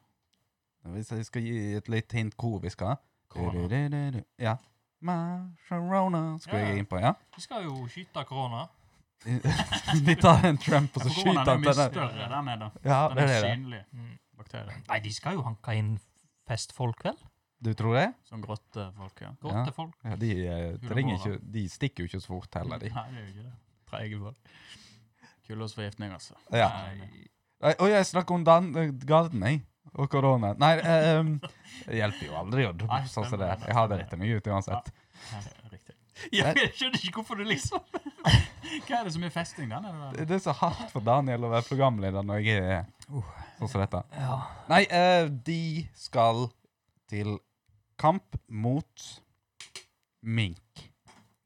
Hvis jeg skal gi et litt hint hvor vi skal
Korona.
Du-du-du-du-du. Ja. Mascherona skulle jeg inn på, ja. [laughs]
Vi skal jo skyte korona.
Vi tar en Trump, og
For
så skyter
koronaen er
han
mye
til den.
større der nede.
Ja,
Den
det
er
er det.
synlig.
Mm.
Bakterie.
Nei, de skal jo hanke inn festfolk, vel?
Du tror det?
Sånn grottefolk, ja.
Ja.
Grottefolk.
Ja, de, eh,
Skulle
trenger
gå, da.
ikke, de stikker jo ikke så fort heller, de.
Nei, det er jo ikke det. Treige folk. Kullåsforgiftning, altså.
Ja.
Nei.
Nei, Og jeg snakker om Dan eh, Garden, jeg. Og korona. Nei, eh, um, det hjelper jo aldri å
Nei,
sånn som
stemmer
det
det,
er. Jeg har det rett meg ut uansett.
Nei, det er Riktig.
Ja, jeg skjønner ikke hvorfor du
[laughs]
liksom
Hva er det som er festing, den? Er det
Det er så hardt for Daniel å være programleder når jeg er
Uh.
sånn som dette.
Ja.
Nei, eh, de skal til kamp mot mink.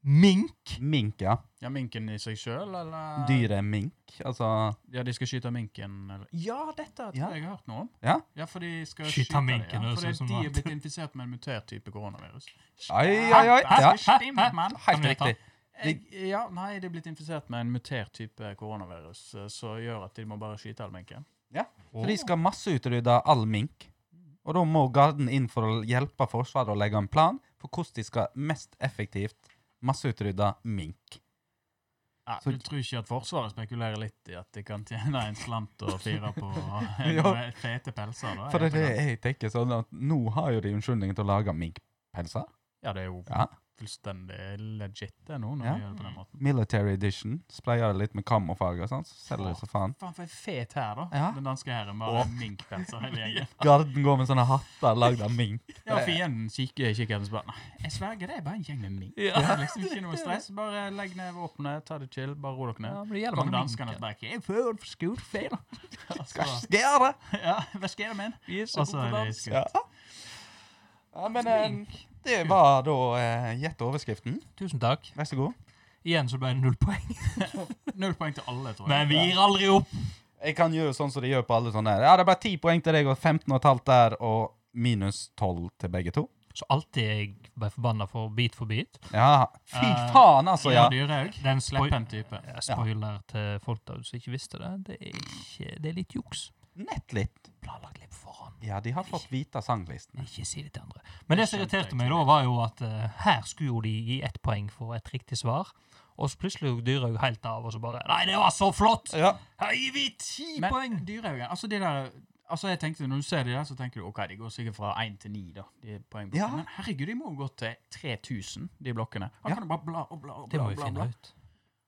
Mink?
Mink, ja.
ja, minken i seg sjøl, eller
Dyret mink. Altså
Ja, de skal skyte minken, eller Ja, dette tror
Ja.
jeg jeg har hørt noe om.
Ja.
for de skal
Skyte
de,
minken,
ja.
det
Fordi
ser ut som
de er
noe.
blitt infisert med en mutert type koronavirus.
Oi, oi, oi. Ja,
Stimt, mann.
Kan
helt
du ta?
riktig.
Jeg, ja, nei, de er blitt infisert med en mutert type koronavirus, eh, som gjør at de må bare skyte all minken.
For de skal masseutrydde all mink. Og da må garden inn for å hjelpe Forsvaret å legge en plan for hvordan de skal mest effektivt masseutrydde mink.
Ja,
Så-
du tror ikke at Forsvaret spekulerer litt i at de kan tjene en slant og fire
[laughs]
på
Ja.
fete pelser? Da,
For det er det
etterkant?
jeg tenker sånn at nå har jo de unnskyldningen til å lage minkpelser.
Ja, det er jo
Ja.
fullstendig legit det nå, når
Ja.
vi gjør det på den måten.
Military edition. Sprayer det litt med kammofarge og sånn, så selger det så faen.
Faen, for en fet hær, da.
Ja.
Den danske hæren. Bare minkpelser hele gjengen.
Garden går med sånne hatter lagd av mink.
Ja, fienden kikker kikker og bare Nei, jeg sverger, det er bare en gjeng med mink. Det er liksom ikke noe stress. Bare legg ned våpenet, ta det chill, bare ro dere ned.
Ja, men det gjelder
Kommer
mange minker.
danskene tilbake. Jeg føler for stor feil.
Skal skjære!
Ja, hva skjer med en?
Vi er så
Og så
gode på
er det
dans.
skutt.
Ja, men eh, det var da eh, Gjett overskriften.
Tusen takk.
Vær så god.
Igjen så ble det null poeng.
Null poeng til alle, tror jeg.
Men vi gir aldri opp!
Jeg kan gjøre sånn som de gjør på alle sånne her. Ja, det er bare 10 poeng til deg og 15 og et halvt der, og minus 12 til begge to.
Så alltid jeg ble forbanna for bit for bit.
Ja, fy
Eh,
faen altså, ja.
Ja, det gjør jeg òg. Den sleppen type.
Jeg spoiler til folk der ute som ikke visste det. Det er, ikke, det er litt juks.
Nett litt.
Planlagt litt på forhånd.
Ja, de har fått vite sanglisten.
Ikke si det til andre. Men det som
skjønte jeg
irriterte meg, da, var jo at eh, her skulle jo de gi ett poeng for et riktig svar. Og så plutselig dyrer jeg helt av, og så bare Nei, det var så flott!
Ja.
Her gir vi ti
Men
poeng!
dyrehaugen, altså de der Altså jeg tenkte, Når du ser de der, så tenker du ok, de går sikkert fra 1 til 9. da, de poengblokkene.
Ja.
Men herregud, de må jo gå til 3000, de blokkene. Han
Ja.
kan jo bare bla og bla og
Det
bla.
må vi
bla,
finne
bla.
ut.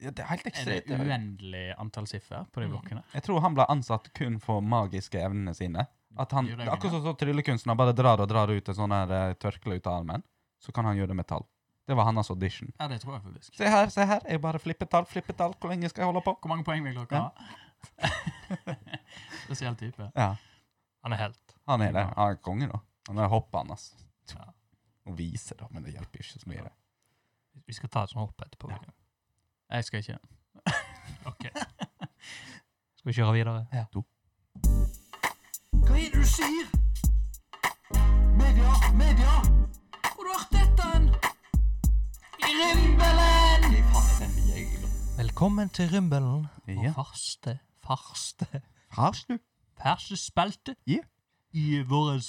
ja, det er helt
Er det
ekstremt. det er-
uendelig antall siffer på de
Mm.
blokkene?
Jeg tror han ble ansatt kun for magiske evnene sine. At han,
Gjør det,
akkurat sånn som tryllekunstner bare drar og drar ut et sånn her eh, tørkle ut av armen, så kan han gjøre det med tall. Det var hans audition.
Ja, det tror jeg faktisk.
Se her, se her. Jeg bare flipper tall, flipper tall. Hvor lenge skal jeg holde på?
Hvor mange poeng vil dere
Ja.
ha? [laughs] Spesiell type.
Ja,
Han er helt.
han er det. Han er konge, da. Han er hoppende, altså.
Ja.
Og viser, da, men det hjelper ikke så mye. det.
Vi skal ta et sånt hopp etterpå.
Jeg skal ikke.
Ok. Skal vi kjøre videre?
Ja. To.
Hva er det du sier? Media, media! Hvor har du hørt dette hen? I rimbelen! Hva faen er den bjeglen?
Velkommen til Rymbelen.
Ja.
Og farste, farste,
Har du?
farste spalte
Ja.
i vår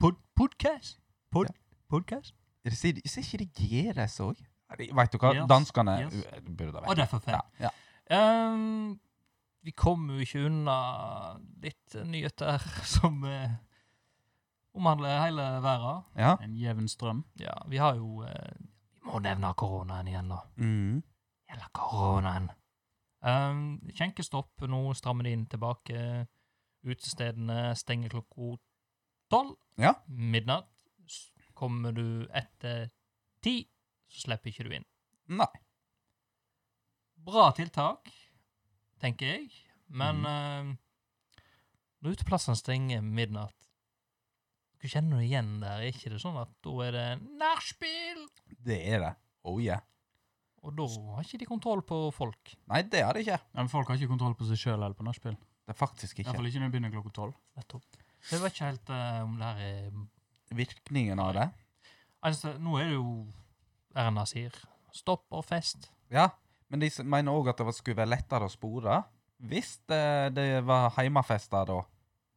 pod podcast. Pod Podcast?
Sier sier ikke de Gjeres òg? Veit du hva,
Yes,
danskene
yes.
u- burde
Og
vært
derfor feil.
ja, ja.
Ehm, vi kommer jo ikke unna litt nyheter [laughs] som eh, omhandler hele verden.
ja.
En jevn strøm.
Ja, vi har jo eh, Vi må nevne koronaen igjen, da.
Mm.
Eller koronaen. Ehm, skjenkestopp, nå strammer de inn tilbake. Utestedene stenger klokka tolv.
Ja.
Midnatt. S- Kommer du etter ti, så slipper ikke du inn.
Nei.
Bra tiltak, tenker jeg. Men mm. når uteplassene stenger midnatt Du kjenner det igjen der, er ikke det sånn at da er det nachspiel?
Det er det. Oh yeah.
Og da har ikke de kontroll på folk.
Nei, det har de ikke.
Ja, men Folk har ikke kontroll på seg sjøl eller på nachspiel.
Det er faktisk ikke.
Iallfall ikke når det begynner klokka tolv.
Nettopp. Så jeg vet ikke helt eh, om det her er
Virkningen av det.
Altså, nå er det jo Erna sier stopp og fest.
Ja, men de s- mener òg at det var- skulle være lettere å spore hvis det, det var heimefester, da.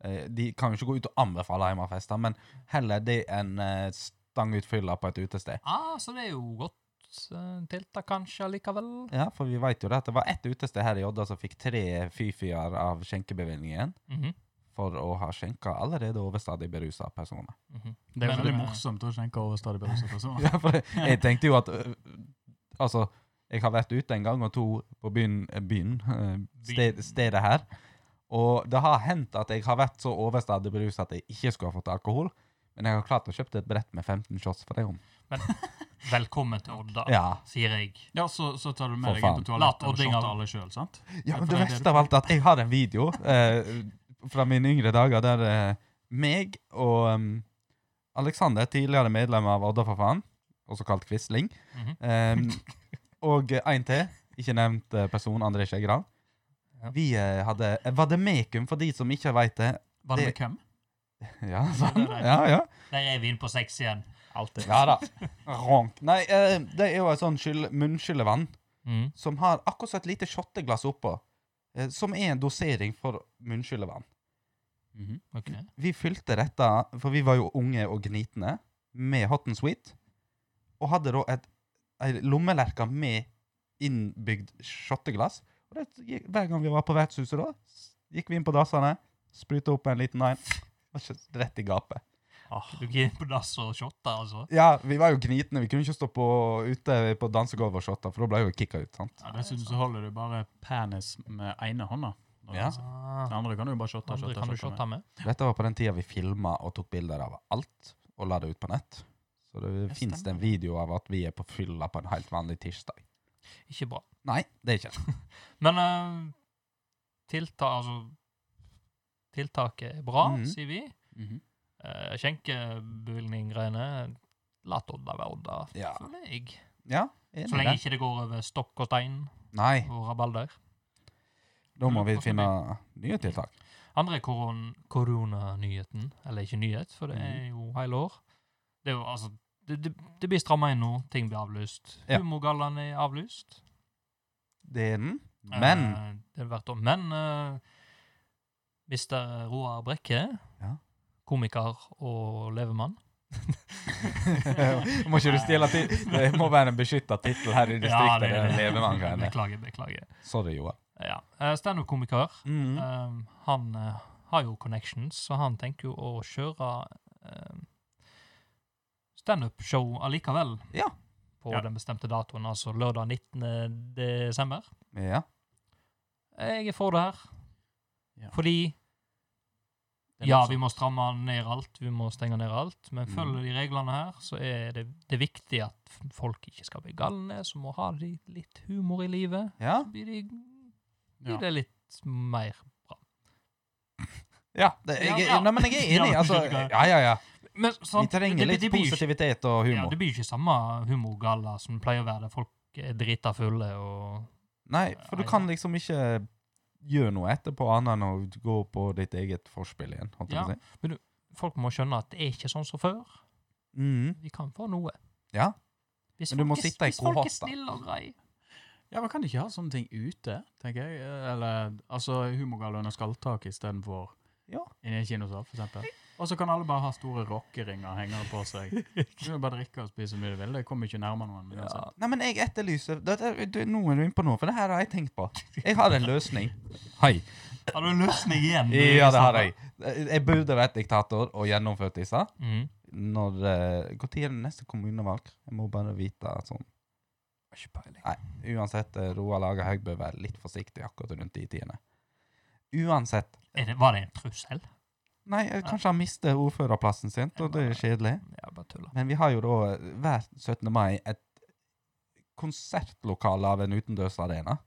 Eh, De kan jo ikke gå ut og anbefale heimefester, men heller det enn eh, stangutfyller på et utested.
Ah, så det er jo godt eh, tiltak kanskje likevel.
Ja, for vi veit jo det at det var ett utested her i Odda som fikk tre fy-fyer av skjenkebevilgningen
Mhm,
for å ha skjenka allerede overstadig berusa personer.
mhm.
Det er
Men,
jo veldig
eh,
morsomt å skjenke over stadig bedre sånn. personer.
[laughs] Ja, for jeg, jeg tenkte jo at øh, Altså, jeg har vært ute en gang og to på byen, eh, byen [laughs] øh, sted, stedet her. Og det har hendt at jeg har vært så overstadig beruset at jeg ikke skulle ha fått alkohol. Men jeg har klart å kjøpe et brett med 15 shots for det om.
Velkommen til Odda,
Ja.
sier jeg.
Ja, så, så tar du med
For
deg inn
faen.
på
Lat
toalettet og
oddinger.
shotter alle sjøl, sant?
ja, men det
for det er det du-
verste av alt er at jeg har en video eh, fra mine yngre dager der eh, meg og em, Alexander, tidligere medlem av Odda for faen, også kalt Quisling,
Mhm.
Ehm, og eh, en til, ikke nevnt eh, person, André Skjegran.
Ja.
Vi eh, hadde vademekum, for de som ikke veit det. [laughs]
Var det
Det-
med hvem?
Ja, sånn.
det er det.
ja, ja.
Der er vi inne på sex igjen.
Alltid.
ja da. Ronk. Nei, eh, det er jo et sånt skyll- munnskyllvann
Mhm.
som har akkurat så et lite shotteglass oppå, eh, som er en dosering for munnskyllevann.
Mhm.
Ok.
Vi fylte dette, for vi var jo unge og gnitne, med hot and sweet, og hadde da et, ei lommelerke med innbygd shotteglass. Og det gikk, hver gang vi var på vertshuset da, s- gikk vi inn på dassene, spruta opp en liten en, og så rett i gapet.
Ah,
Du gikk på dass og shotta, altså?
Ja, vi var jo gnitne. Vi kunne ikke stå på, ute på dansegulvet og shotta, for da ble jeg jo kicka ut. sant?
Ja, Dessuten så holder du bare penis med ene hånda. når du
Ja.
danser. Den andre kan du jo bare shotte.
Andre
shotte,
Ah, kan du
shotte med.
shotte med.
Dette var på den tida vi filma og tok bilder av alt og la det ut på nett. Så det fins det en video av at vi er på fylla på en helt vanlig tirsdag.
Ikke bra.
Nei, det er ikke det.
Men eh, tilta, altså, tiltaket er bra,
Mhm.
sier vi. Uh, Skjenkebevilgning-greiene Lat Odda være Odda,
Ja.
føler jeg.
Ja, enig
Så
i
lenge
det.
ikke det går over stokk og stein
Nei,
og rabalder.
da må vi
Hvordan
finne nye tiltak.
Andre koron koronanyheten, eller ikke nyhet, for det er
Mm.
jo hele år. Det, er jo, altså, det, det, det blir stramma inn nå, ting blir avlyst.
Ja.
Humorgallaen er avlyst.
Det er den. Men
Eh, det er hvert år. Men eh, mister Roar Brekke,
Ja.
komiker og levemann
[laughs]
Eh.
Må ikke du stjele
[laughs]
til Det må være en beskytta tittel her i distriktet. det er levemann-greiene.
Beklager, beklager.
Sorry, Mm. Joar.
Ja. Eh, Standup-komiker. Um, han eh, har jo connections, så han tenker jo å kjøre uh, standup-show allikevel.
Ja.
På
Ja.
den bestemte datoen, altså lørdag 19. desember.
Ja.
Jeg er for det her.
Ja.
Fordi
Det er sånn.
ja,
noe
vi
sånt.
må stramme ned alt, vi må stenge ned alt, men
Mm.
følger de reglene her, så er det, det er viktig at f- folk ikke skal bli galne, så må ha de litt humor i livet.
Ja.
Så blir, de, blir
Ja.
det litt mer
ja. Det,
Ja,
jeg,
ja.
nei, men jeg er enig.
Ja,
Altså,
du kan-
ja, ja, ja.
men,
Vi
sant,
trenger
det-
litt
det blir jo ikke-
positivitet og
Ja,
humor.
det blir jo ikke samme humorgalla som det pleier å være, der folk er drita fulle og
Nei, for du
Nei,
kan
nei.
liksom ikke gjøre noe etterpå annet enn å gå på ditt eget forspill igjen. Holdt jeg
Ja.
på å si.
Folk må skjønne at det er ikke sånn som før.
Mhm.
Vi kan få noe.
Ja.
Hvis
Men du må
folk er-
sitte i
Hvis folk
kohorter.
er snille og greie.
Ja, men Kan de ikke ha sånne ting ute, tenker jeg? Eller altså humorgalla under skalltak istedenfor
Ja.
inni en kinosal, for eksempel. Og så kan alle bare ha store rockeringer hengende på seg. Du kan bare drikke og spise så mye du vil. Det kommer ikke nærmere noen. uansett.
Nei, men altså. jeg etterlyser det, det, du, Nå er du inne på noe, for det her har jeg tenkt på. Jeg har en løsning. Hei.
Har du en løsning igjen?
[laughs] Ja, det har jeg. Jeg burde vært diktator og gjennomført disse.
Mm.
Når eh, Når er det neste kommunevalg? Jeg må bare vite sånn.
Ikke peiling.
Nei, uansett, eh, Roar Lager Haug bør være litt forsiktig akkurat rundt de tidene. Uansett.
Er det, var det en trussel?
Nei, eh, kanskje han mister ordførerplassen sin, og det er kjedelig.
Ja, bare tulla.
Men vi har jo da eh, hver 17. mai et konsertlokale av en utendørsarena.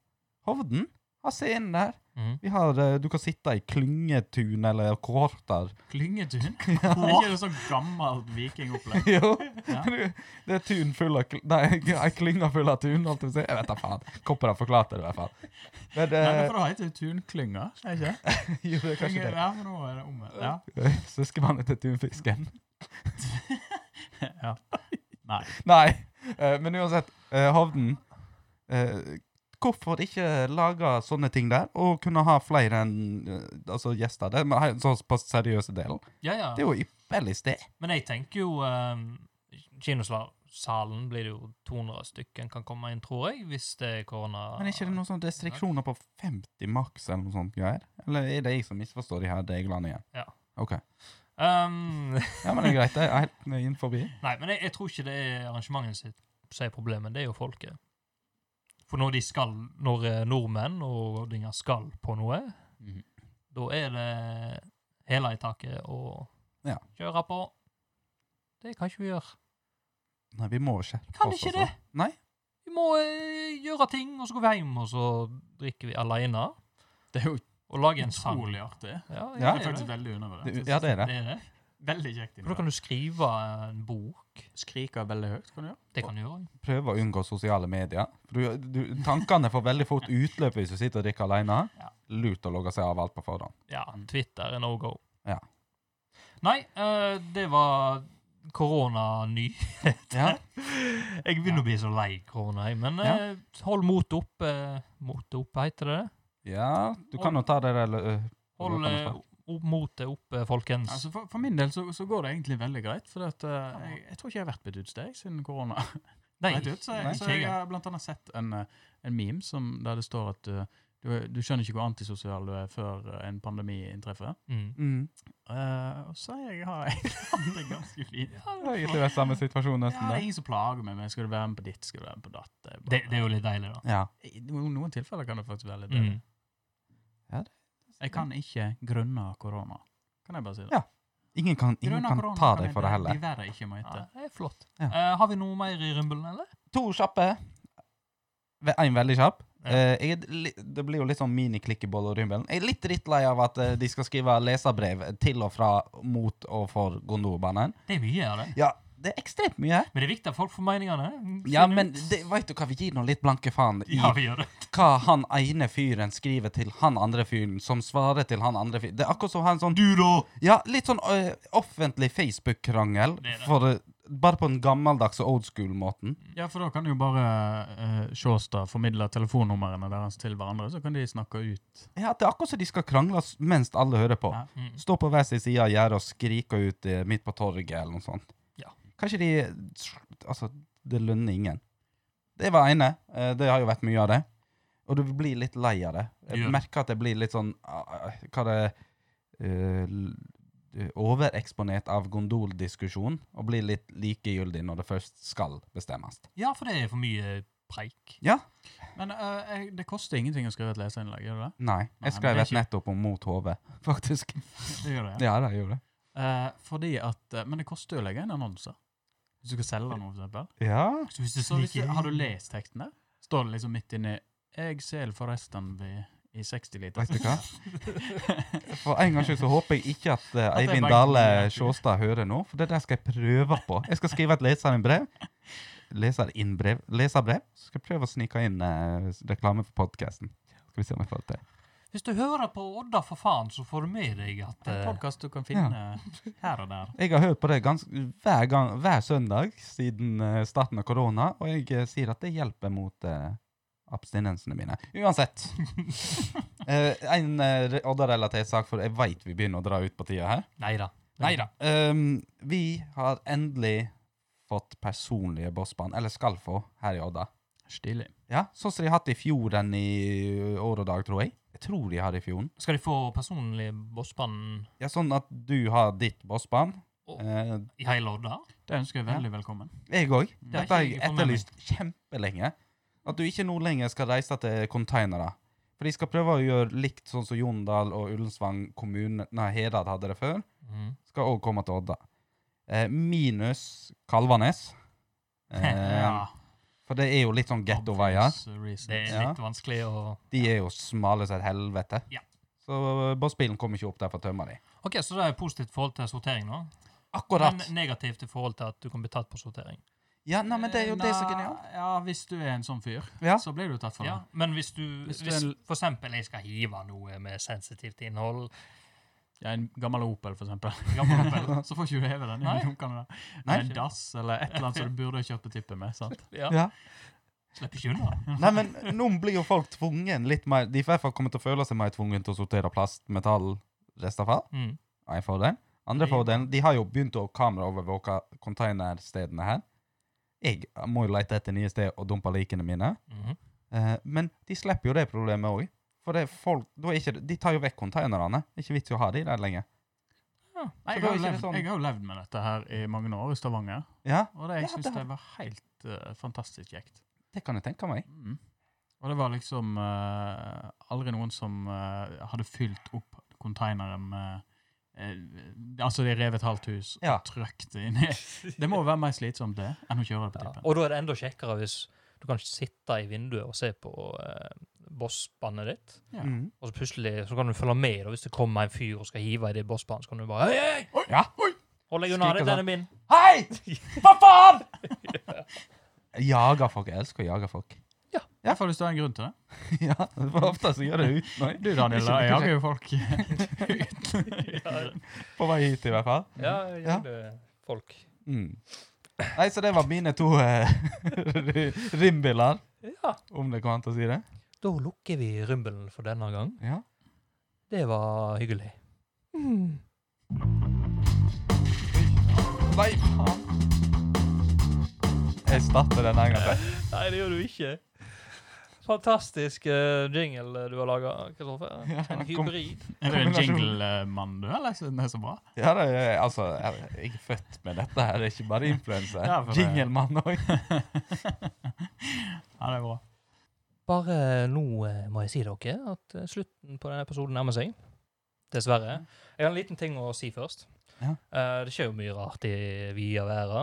Hovden har scenen der.
Mm.
Vi har, eh, du kan sitte i klyngetun eller kohorter.
Klyngetun? Ja. Ikke det sånn gammelt vikingopplegg?
[laughs] jo,
Ja.
du, det er tun full av kl Nei, [laughs] ei klynge full av tun. Holdt jeg, på å si. jeg vet da faen. Kopper har forklart det, i hvert fall. Men
Nei, det
eh,
får da hete tunklynga, er det ikke?
[laughs] jo, det er
Klynge-
kanskje det. Eh,
Ja, men nå er det omvendt. Ja.
Søskenbarnet til tunfisken. [laughs]
ja. Nei.
Nei, eh, men uansett, eh, Hovden eh, Hvorfor ikke lage sånne ting der, og kunne ha flere enn eh, altså gjester? Det er en sånn på seriøse delen.
Ja, ja.
Det er jo et ypperlig sted.
Men jeg tenker jo um, Kinosalen blir det jo 200 stykker kan komme inn, tror jeg, hvis det er korona.
Men er ikke det noen sånne restriksjoner på 50 maks eller noe sånt greier? Eller er det jeg som misforstår de her reglene igjen?
Ja.
Ok.
um,
Ja, men det er greit. Det er helt inn forbi.
Nei, men jeg, jeg tror ikke det er arrangementet sitt som er problemet, det er jo folket. For når de skal, når eh, nordmenn og oddinger skal på noe,
Mhm.
da er det hele i taket og
Ja.
kjøre på. Det kan ikke vi gjøre.
Nei, vi må skjerpe
Kan
oss.
ikke
altså.
det.
Nei.
Vi må eh, gjøre ting, og så går vi hjem, og så drikker vi alene,
Det er jo
og lager en sang.
utrolig artig.
Ja.
Ja,
Det er
det er
faktisk
det.
veldig undervurdert.
Det- Ja, det er det.
Det er det. Veldig kjekt.
For da kan du skrive en bok.
Skriker veldig høyt, kan du gjøre.
Det kan du gjøre.
Prøve å unngå sosiale medier. For du, du, tankene får veldig fort utløp hvis du sitter og drikker alene.
Ja.
Lurt å logge seg av alt på forhånd.
Ja, Twitter er no go.
Ja.
Nei, eh, det var koronany.
Ja.
Jeg begynner å bli så lei korona, jeg. Men
Ja.
eh, hold motet oppe. Motet oppe, heter det det?
Ja, du kan jo ta det der ø,
Hold
Hvordan
eh,
kan man
o- motet oppe, folkens.
Altså for, for min del så, så går det egentlig veldig greit, for at, eh, jeg, jeg tror ikke jeg har vært på et utested siden korona.
Nei,
brøt ut, så, jeg,
nei,
så
ikke
jeg
jeg.
har blant annet sett en, eh, en meme som, der det står at eh, du Du, er- du skjønner ikke hvor antisosial du er før eh, en pandemi inntreffer.
Mm.
Mm.
Eh, og så er jeg har jeg [laughs] hatt det ganske fint. Ja,
Det har egentlig vært samme situasjon
det
nesten.
er
da.
ingen som plager meg, men skal du være med på ditt, skal du være med på datt. Det er bare-
Det, det er jo litt deilig, da.
Ja.
I no- noen tilfeller kan det faktisk være litt
Mm.
deilig. Jeg kan ikke grunne korona. Kan jeg bare si det?
Ja, Ingen kan, ingen
Grunne
kan
korona
ta deg
jeg
for det
de-
heller.
De verre ikke må
Ja,
hete.
det er flott.
Ja.
Eh, har vi noe mer i rumbelen, eller?
To kjappe. Én veldig kjapp.
Ja.
Eh, jeg er li det blir jo litt sånn mini-klikkeboll og rymmelen. Jeg er litt drittlei av at eh, de skal skrive leserbrev til og fra mot og for Gondorbanen.
Det er mye av det.
Ja, det er ekstremt mye.
Men det er viktig at folk får meningene. Mm,
Ja,
finn
men
ut.
det, vet du hva, vi gir nå litt blanke faen i
[laughs] Ja, vi gjør det.
hva han ene fyren skriver til han andre fyren, som svarer til han andre fyren. Det er akkurat som å ha en sånn
Du, da!
Ja, litt sånn ø, offentlig Facebook-krangel,
Det Mm. er det.
for, ø, bare på den gammeldags og old school-måten.
Ja, for da kan jo bare uh, Sjåstad formidle telefonnumrene deres til hverandre, så kan de snakke ut.
Ja, det er akkurat som de skal krangle s- mens alle hører på.
Ja.
Mm.
Stå på hver sin side av gjerdet og skrike ut eh, midt på torget eller noe sånt.
Ja.
Kanskje de Altså, det lønner ingen. Det var ene. Eh, Det har jo vært mye av det. Og du blir litt lei av det. Jeg
Ja.
merker at jeg blir litt sånn ah, Hva det eh, l- eh, Overeksponert av gondoldiskusjon og blir litt likegyldig når det først skal bestemmes.
Ja, for det er for mye preik.
Men eh, jeg, det koster ingenting å skrive et leserinnlegg, gjør det det?
Nei.
Nei,
Jeg skrev
men
et
det er
nettopp om mot HV, [laughs] faktisk.
Det gjør det, ja.
Ja, det gjorde jeg.
Eh, fordi at, eh, men det koster jo å legge inn annonser. Hvis du skal selge noe, for eksempel.
Ja.
Så hvis du
Så hvis du,
sniker
har du lest teksten der? Står det liksom midt inni 'Jeg selger forresten ved, i 60 liter'.
Vet du hva? For en gangs skyld så håper jeg ikke at eh,
At jeg
Eivind
bare-
Dale Sjåstad hører nå, for det der skal jeg prøve på. Jeg skal skrive et leserinnbrev. Leserinnbrev? Leserbrev? Så skal jeg prøve å snike inn eh, reklame for podkasten. Skal vi se om jeg får det til.
Hvis du hører på Odda, for faen, så får du med deg at
En
eh,
podkast du kan finne her og der.
Jeg har hørt på det gans hver, gang, hver søndag siden eh, starten av korona, og jeg eh, sier at det hjelper mot eh, abstinensene mine. Uansett. Eh, en uh, Odda-relatert sak, for jeg veit vi begynner å dra ut på tida her.
Nei da.
Neida. Ehm, vi har endelig fått personlige bossband, eller skal få, her i Odda.
Stilig.
Ja, Sånn som de har hatt i fjor enn i år og dag, tror jeg. Jeg tror de har det i fjor.
Skal de få personlig bossband
Ja, sånn at du har ditt bossband.
Å.
Eh,
i hele Odda?
Det ønsker jeg veldig velkommen.
jeg òg.
Det har
Dette har
ikke
jeg
jeg fått med meg.
etterlyst kjempelenge. At du ikke nå lenger skal reise til containere. For de skal prøve å gjøre likt sånn som Jondal og Ullensvang kommune, nei, Hedad hadde det før.
[laughs] Mm.
Skal òg komme til Odda. Eh, minus
[laughs]
Kalvanes. Eh, For det er jo litt sånn gettoveier.
Obvious reasons.
Det er
Ja.
litt vanskelig å
De er jo smale som et helvete.
Ja.
Så eh, bossbilen kommer ikke opp der for å tømme de.
OK, så det er positivt forhold til sortering, da.
Akkurat!
Men negativt i forhold til at du kan bli tatt på sortering.
ja, nei, men det er jo
Eh,
det som er
nei,
genialt.
Ja, hvis du er en sånn fyr,
Ja.
så blir du tatt for det.
Ja, men hvis du,
Hvis
hvis
du er en-
for eksempel jeg skal hive noe med sensitivt innhold
Ja, en gammel Opel, for
[laughs]
eksempel.
gammel
[laughs]
Opel,
Så får ikke du heve den.
Nei.
i dunkene der.
Nei.
En dass eller et eller annet som du burde ha kjørt på tippet med. sant?
ja.
Ja.
slipper ikke unna.
Nei, men nå blir jo folk tvungen litt mer De i hvert fall kommer til å føle seg mer tvungen til å sortere plast, metall, restavfall.
Mm.
Er en fordel. Andre
Ja.
fordelen De har jo begynt å kameraovervåke containerstedene her. Jeg må jo lete etter nye steder og dumpe likene mine.
Mhm.
Eh, men de slipper jo det problemet òg. For det er folk, da er ikke, det- de tar jo vekk containerne. Det er ikke vits i å ha de der lenger.
Nei,
Så
jeg,
da er
har jo
ikke det
levd,
sånn-
jeg har jo levd med dette her i mange år i Stavanger,
Ja,
og det, jeg
Ja,
syns
det har-
det var helt eh, fantastisk kjekt.
det kan jeg tenke meg.
Mm. Og det var liksom eh, aldri noen som eh, hadde fylt opp konteineren med eh, Altså, de rev et halvt hus og
Ja.
trøkt det inn i Det må jo være mer slitsomt, det, enn å kjøre det på
Ja.
tippen.
Og da er det enda kjekkere hvis du kan sitte i vinduet og se på eh, bossbandet ditt,
Ja.
Mm.
og så plutselig så kan du følge med da, hvis det kommer en fyr og skal hive i det bossbandet, så kan du bare Hei, hei! Oi,
Ja.
Hold deg unna
Skrike
det,
sånn.
den er min!
Hei! Hva
[laughs]
faen?! Jager folk. Jeg elsker å jage folk. [laughs]
I hvert fall hvis det er en grunn til det.
ja, for ofte så gjør det uten meg.
Du, Daniel,
Ikke-
jeg
ikke-
jager jo folk.
På vei hit, i hvert fall.
Ja,
Ja.
ja. det- folk.
Mm. Nei, så det var mine to eh, [laughs] rimbiller,
Ja.
om det går an å si det.
Da lukker vi rymbelen for denne gang.
Ja.
Det var hyggelig.
Nei, faen! Jeg starter denne gangen.
Nei, det gjør du ikke. Fantastisk eh, jingle eh, du har laga, Kristoffer. En hybrid.
Er du en jinglemann, du, eller? Siden det er så bra. [laughs]
Ja, det er, altså, jeg jeg er født med dette her, det er ikke bare influenser.
Ja, for det-
Jinglemann òg.
Ja, det er bra.
Bare nå eh, må jeg si dere at eh, slutten på denne episoden nærmer seg. Dessverre. Jeg har en liten ting å si først.
Ja.
Eh, det skjer jo mye rart i vide og ære.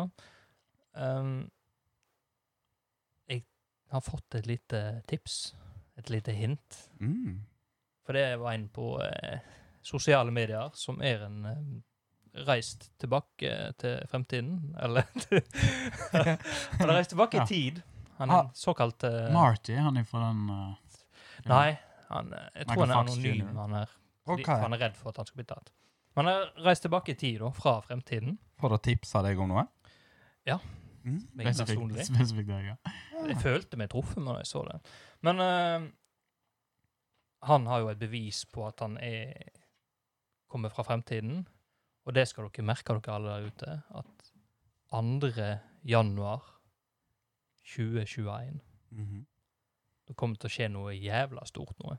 Um, jeg har fått et lite tips, et lite hint.
Mm.
For det var en på eh, sosiale medier som er en eh, reist tilbake til fremtiden. Eller [laughs] til- Han har reist tilbake i
Ja.
tid. Han er
Ah,
en såkalt eh,
Marty, han er fra den eh,
Mm.
Nei, han, eh, jeg tror
Michael
han er
Fox
anonym,
Jr..
han her. Fordi,
Ok,
for han er redd for at han skal bli tatt. Men han har reist tilbake i tid, da, fra fremtiden.
For å tipse deg om noe?
Ja.
Mm.
Meg
spesifikt-
personlig.
Spesifikt deg, ja.
Jeg følte meg truffet når jeg så det. Men eh, han har jo et bevis på at han er kommer fra fremtiden. Og det skal dere merke, dere alle der ute, at 2. januar 2021
Mhm.
Det kommer til å skje noe jævla stort noe.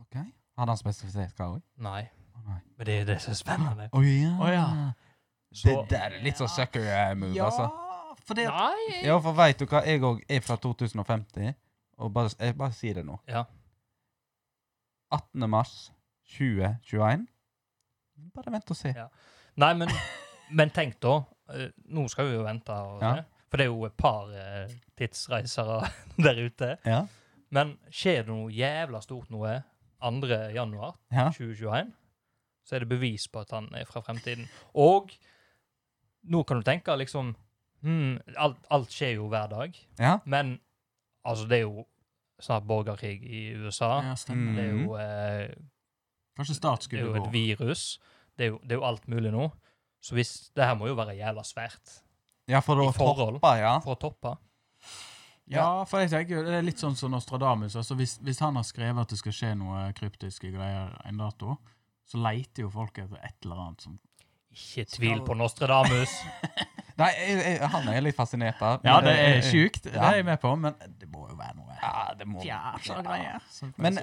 Ok. Hadde han spesifisert hva òg?
Nei.
Å nei.
Men det er det som er spennende.
Å ja.
Å ja.
Det
Så-
der er litt sånn sucker eh, move, altså.
for det
Nei!
Ja, for veit du hva, jeg òg er fra 2050, og bare, jeg bare sier det nå.
Ja.
18. mars 2021. Bare vent og se.
Ja. Nei, men, men tenk da. eh, Nå skal vi jo vente. Og,
Ja.
For det er jo et par eh, tidsreisere [laughs] der ute.
Ja.
Men skjer det noe jævla stort noe 2. januar
Ja.
2021, så er det bevis på at han er fra fremtiden. Og nå kan du tenke liksom hmm, alt, alt skjer jo hver dag,
ja.
men altså, det er jo snart borgerkrig i USA.
Ja, stemmer.
Det er
Mhm.
jo eh,
Kanskje Start
det er
skulle
jo
gå.
et virus. Det er jo, det er jo alt mulig nå. Så hvis, det her må jo være jævla svært
ja, for
I
å
forhold.
toppe, ja.
for å toppe.
Ja, for jeg tenker jo, det er litt sånn som Nostradamus. altså Hvis, hvis han har skrevet at det skal skje noe kryptiske greier en dato, så leiter jo folk etter et eller annet som
Ikke tvil på Nostradamus.
Nei, jeg, jeg, han er jeg litt fascinert av.
Ja,
men
det er
jeg-
sjukt, det
Ja.
er jeg med på, men det må jo være noe
Ja, det må
jævla greier. som-
Men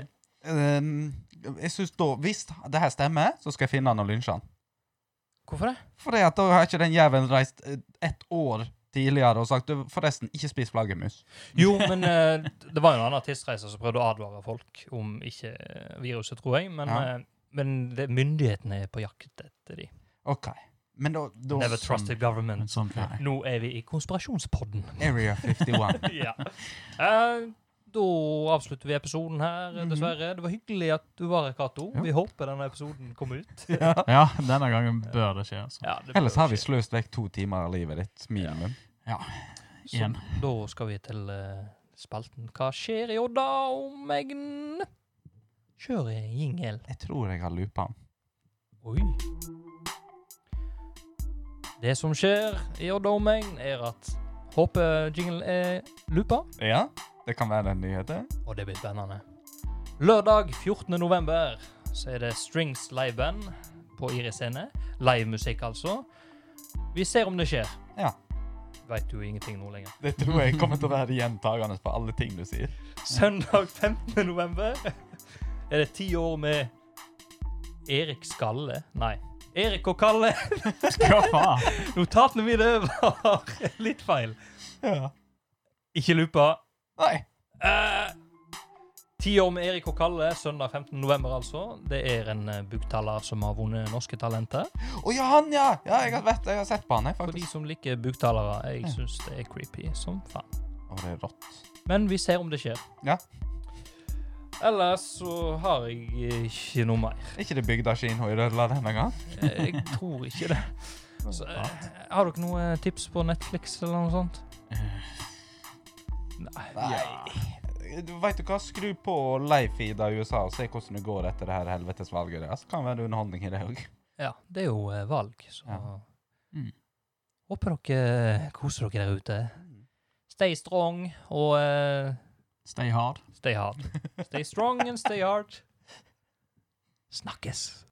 eh, jeg synes da, hvis det her stemmer, så skal jeg finne han og lynsje han.
[laughs] Hvorfor det?
For det at da har ikke den jævelen reist eh, ett år tidligere og sagt du, forresten, ikke spis flaggermus.
Jo, men eh, det var jo en annen tidsreiser som prøvde å advare folk om ikke eh, viruset, tror jeg. Men,
Ja.
eh, men det, myndighetene er på jakt etter de.
OK. Men da, da sånn
Never trusted
Men
government.
sånn, ja.
Nå er vi i konspirasjonspodden.
Area 51.
[laughs] ja. Eh, da avslutter vi episoden her, dessverre. Det var hyggelig at du var her, Cato.
Ja.
Vi håper denne episoden kom ut.
ja, denne gangen bør det skje. altså.
Ja, det
Ellers
bør
har vi
skje.
sløst vekk to timer av livet ditt, minimum.
Så
Igjen.
da skal vi til eh, spalten Hva skjer i Odda og Megn? Kjør en jingle.
Jeg tror jeg har loopa han.
Oi. Det som skjer i Odda og Megn, er at hoppejinglen er loopa,
Ja? Det kan være den nyheten.
og det blir spennende. Lørdag 14. november så er det Strings liveband på Iris scene. Livemusikk, altså. Vi ser om det skjer.
Ja.
Veit jo ingenting nå lenger.
Det tror jeg kommer til å være gjentagende på alle ting du sier.
Søndag 15. november er det ti år med Erik Skalle. Nei. Erik og Kalle.
Hva faen?
Notatene mine var litt feil.
Ja.
Ikke lupa.
Nei.
Eh, Ti år med Erik og Kalle, søndag 15. november altså. Det er en eh, buktaler som har vunnet Norske Talenter.
Å ja, han, ja! Ja, jeg har, vet, jeg har sett på han, jeg,
For de
faktisk.
som liker buktalere, jeg syns det er creepy som faen.
Å, det er rått.
Men vi ser om det skjer.
Ja.
Ellers så har jeg eh, ikke noe mer.
Er ikke det bygdakino i Rødla denne gang?
Eh, Jeg tror ikke det. Så, eh, har dere noen tips på Netflix eller noe sånt? Nei.
Du vet du hva, skru på livefeed av USA og se hvordan det går etter det her helvetes valget deres. Kan være underholdning i det òg.
Ja, det er jo eh, valg, så
Ja.
Mm.
Håper dere eh, koser dere der ute. Stay strong og eh,
Stay hard.
stay hard. Stay strong and stay hard. Snakkes.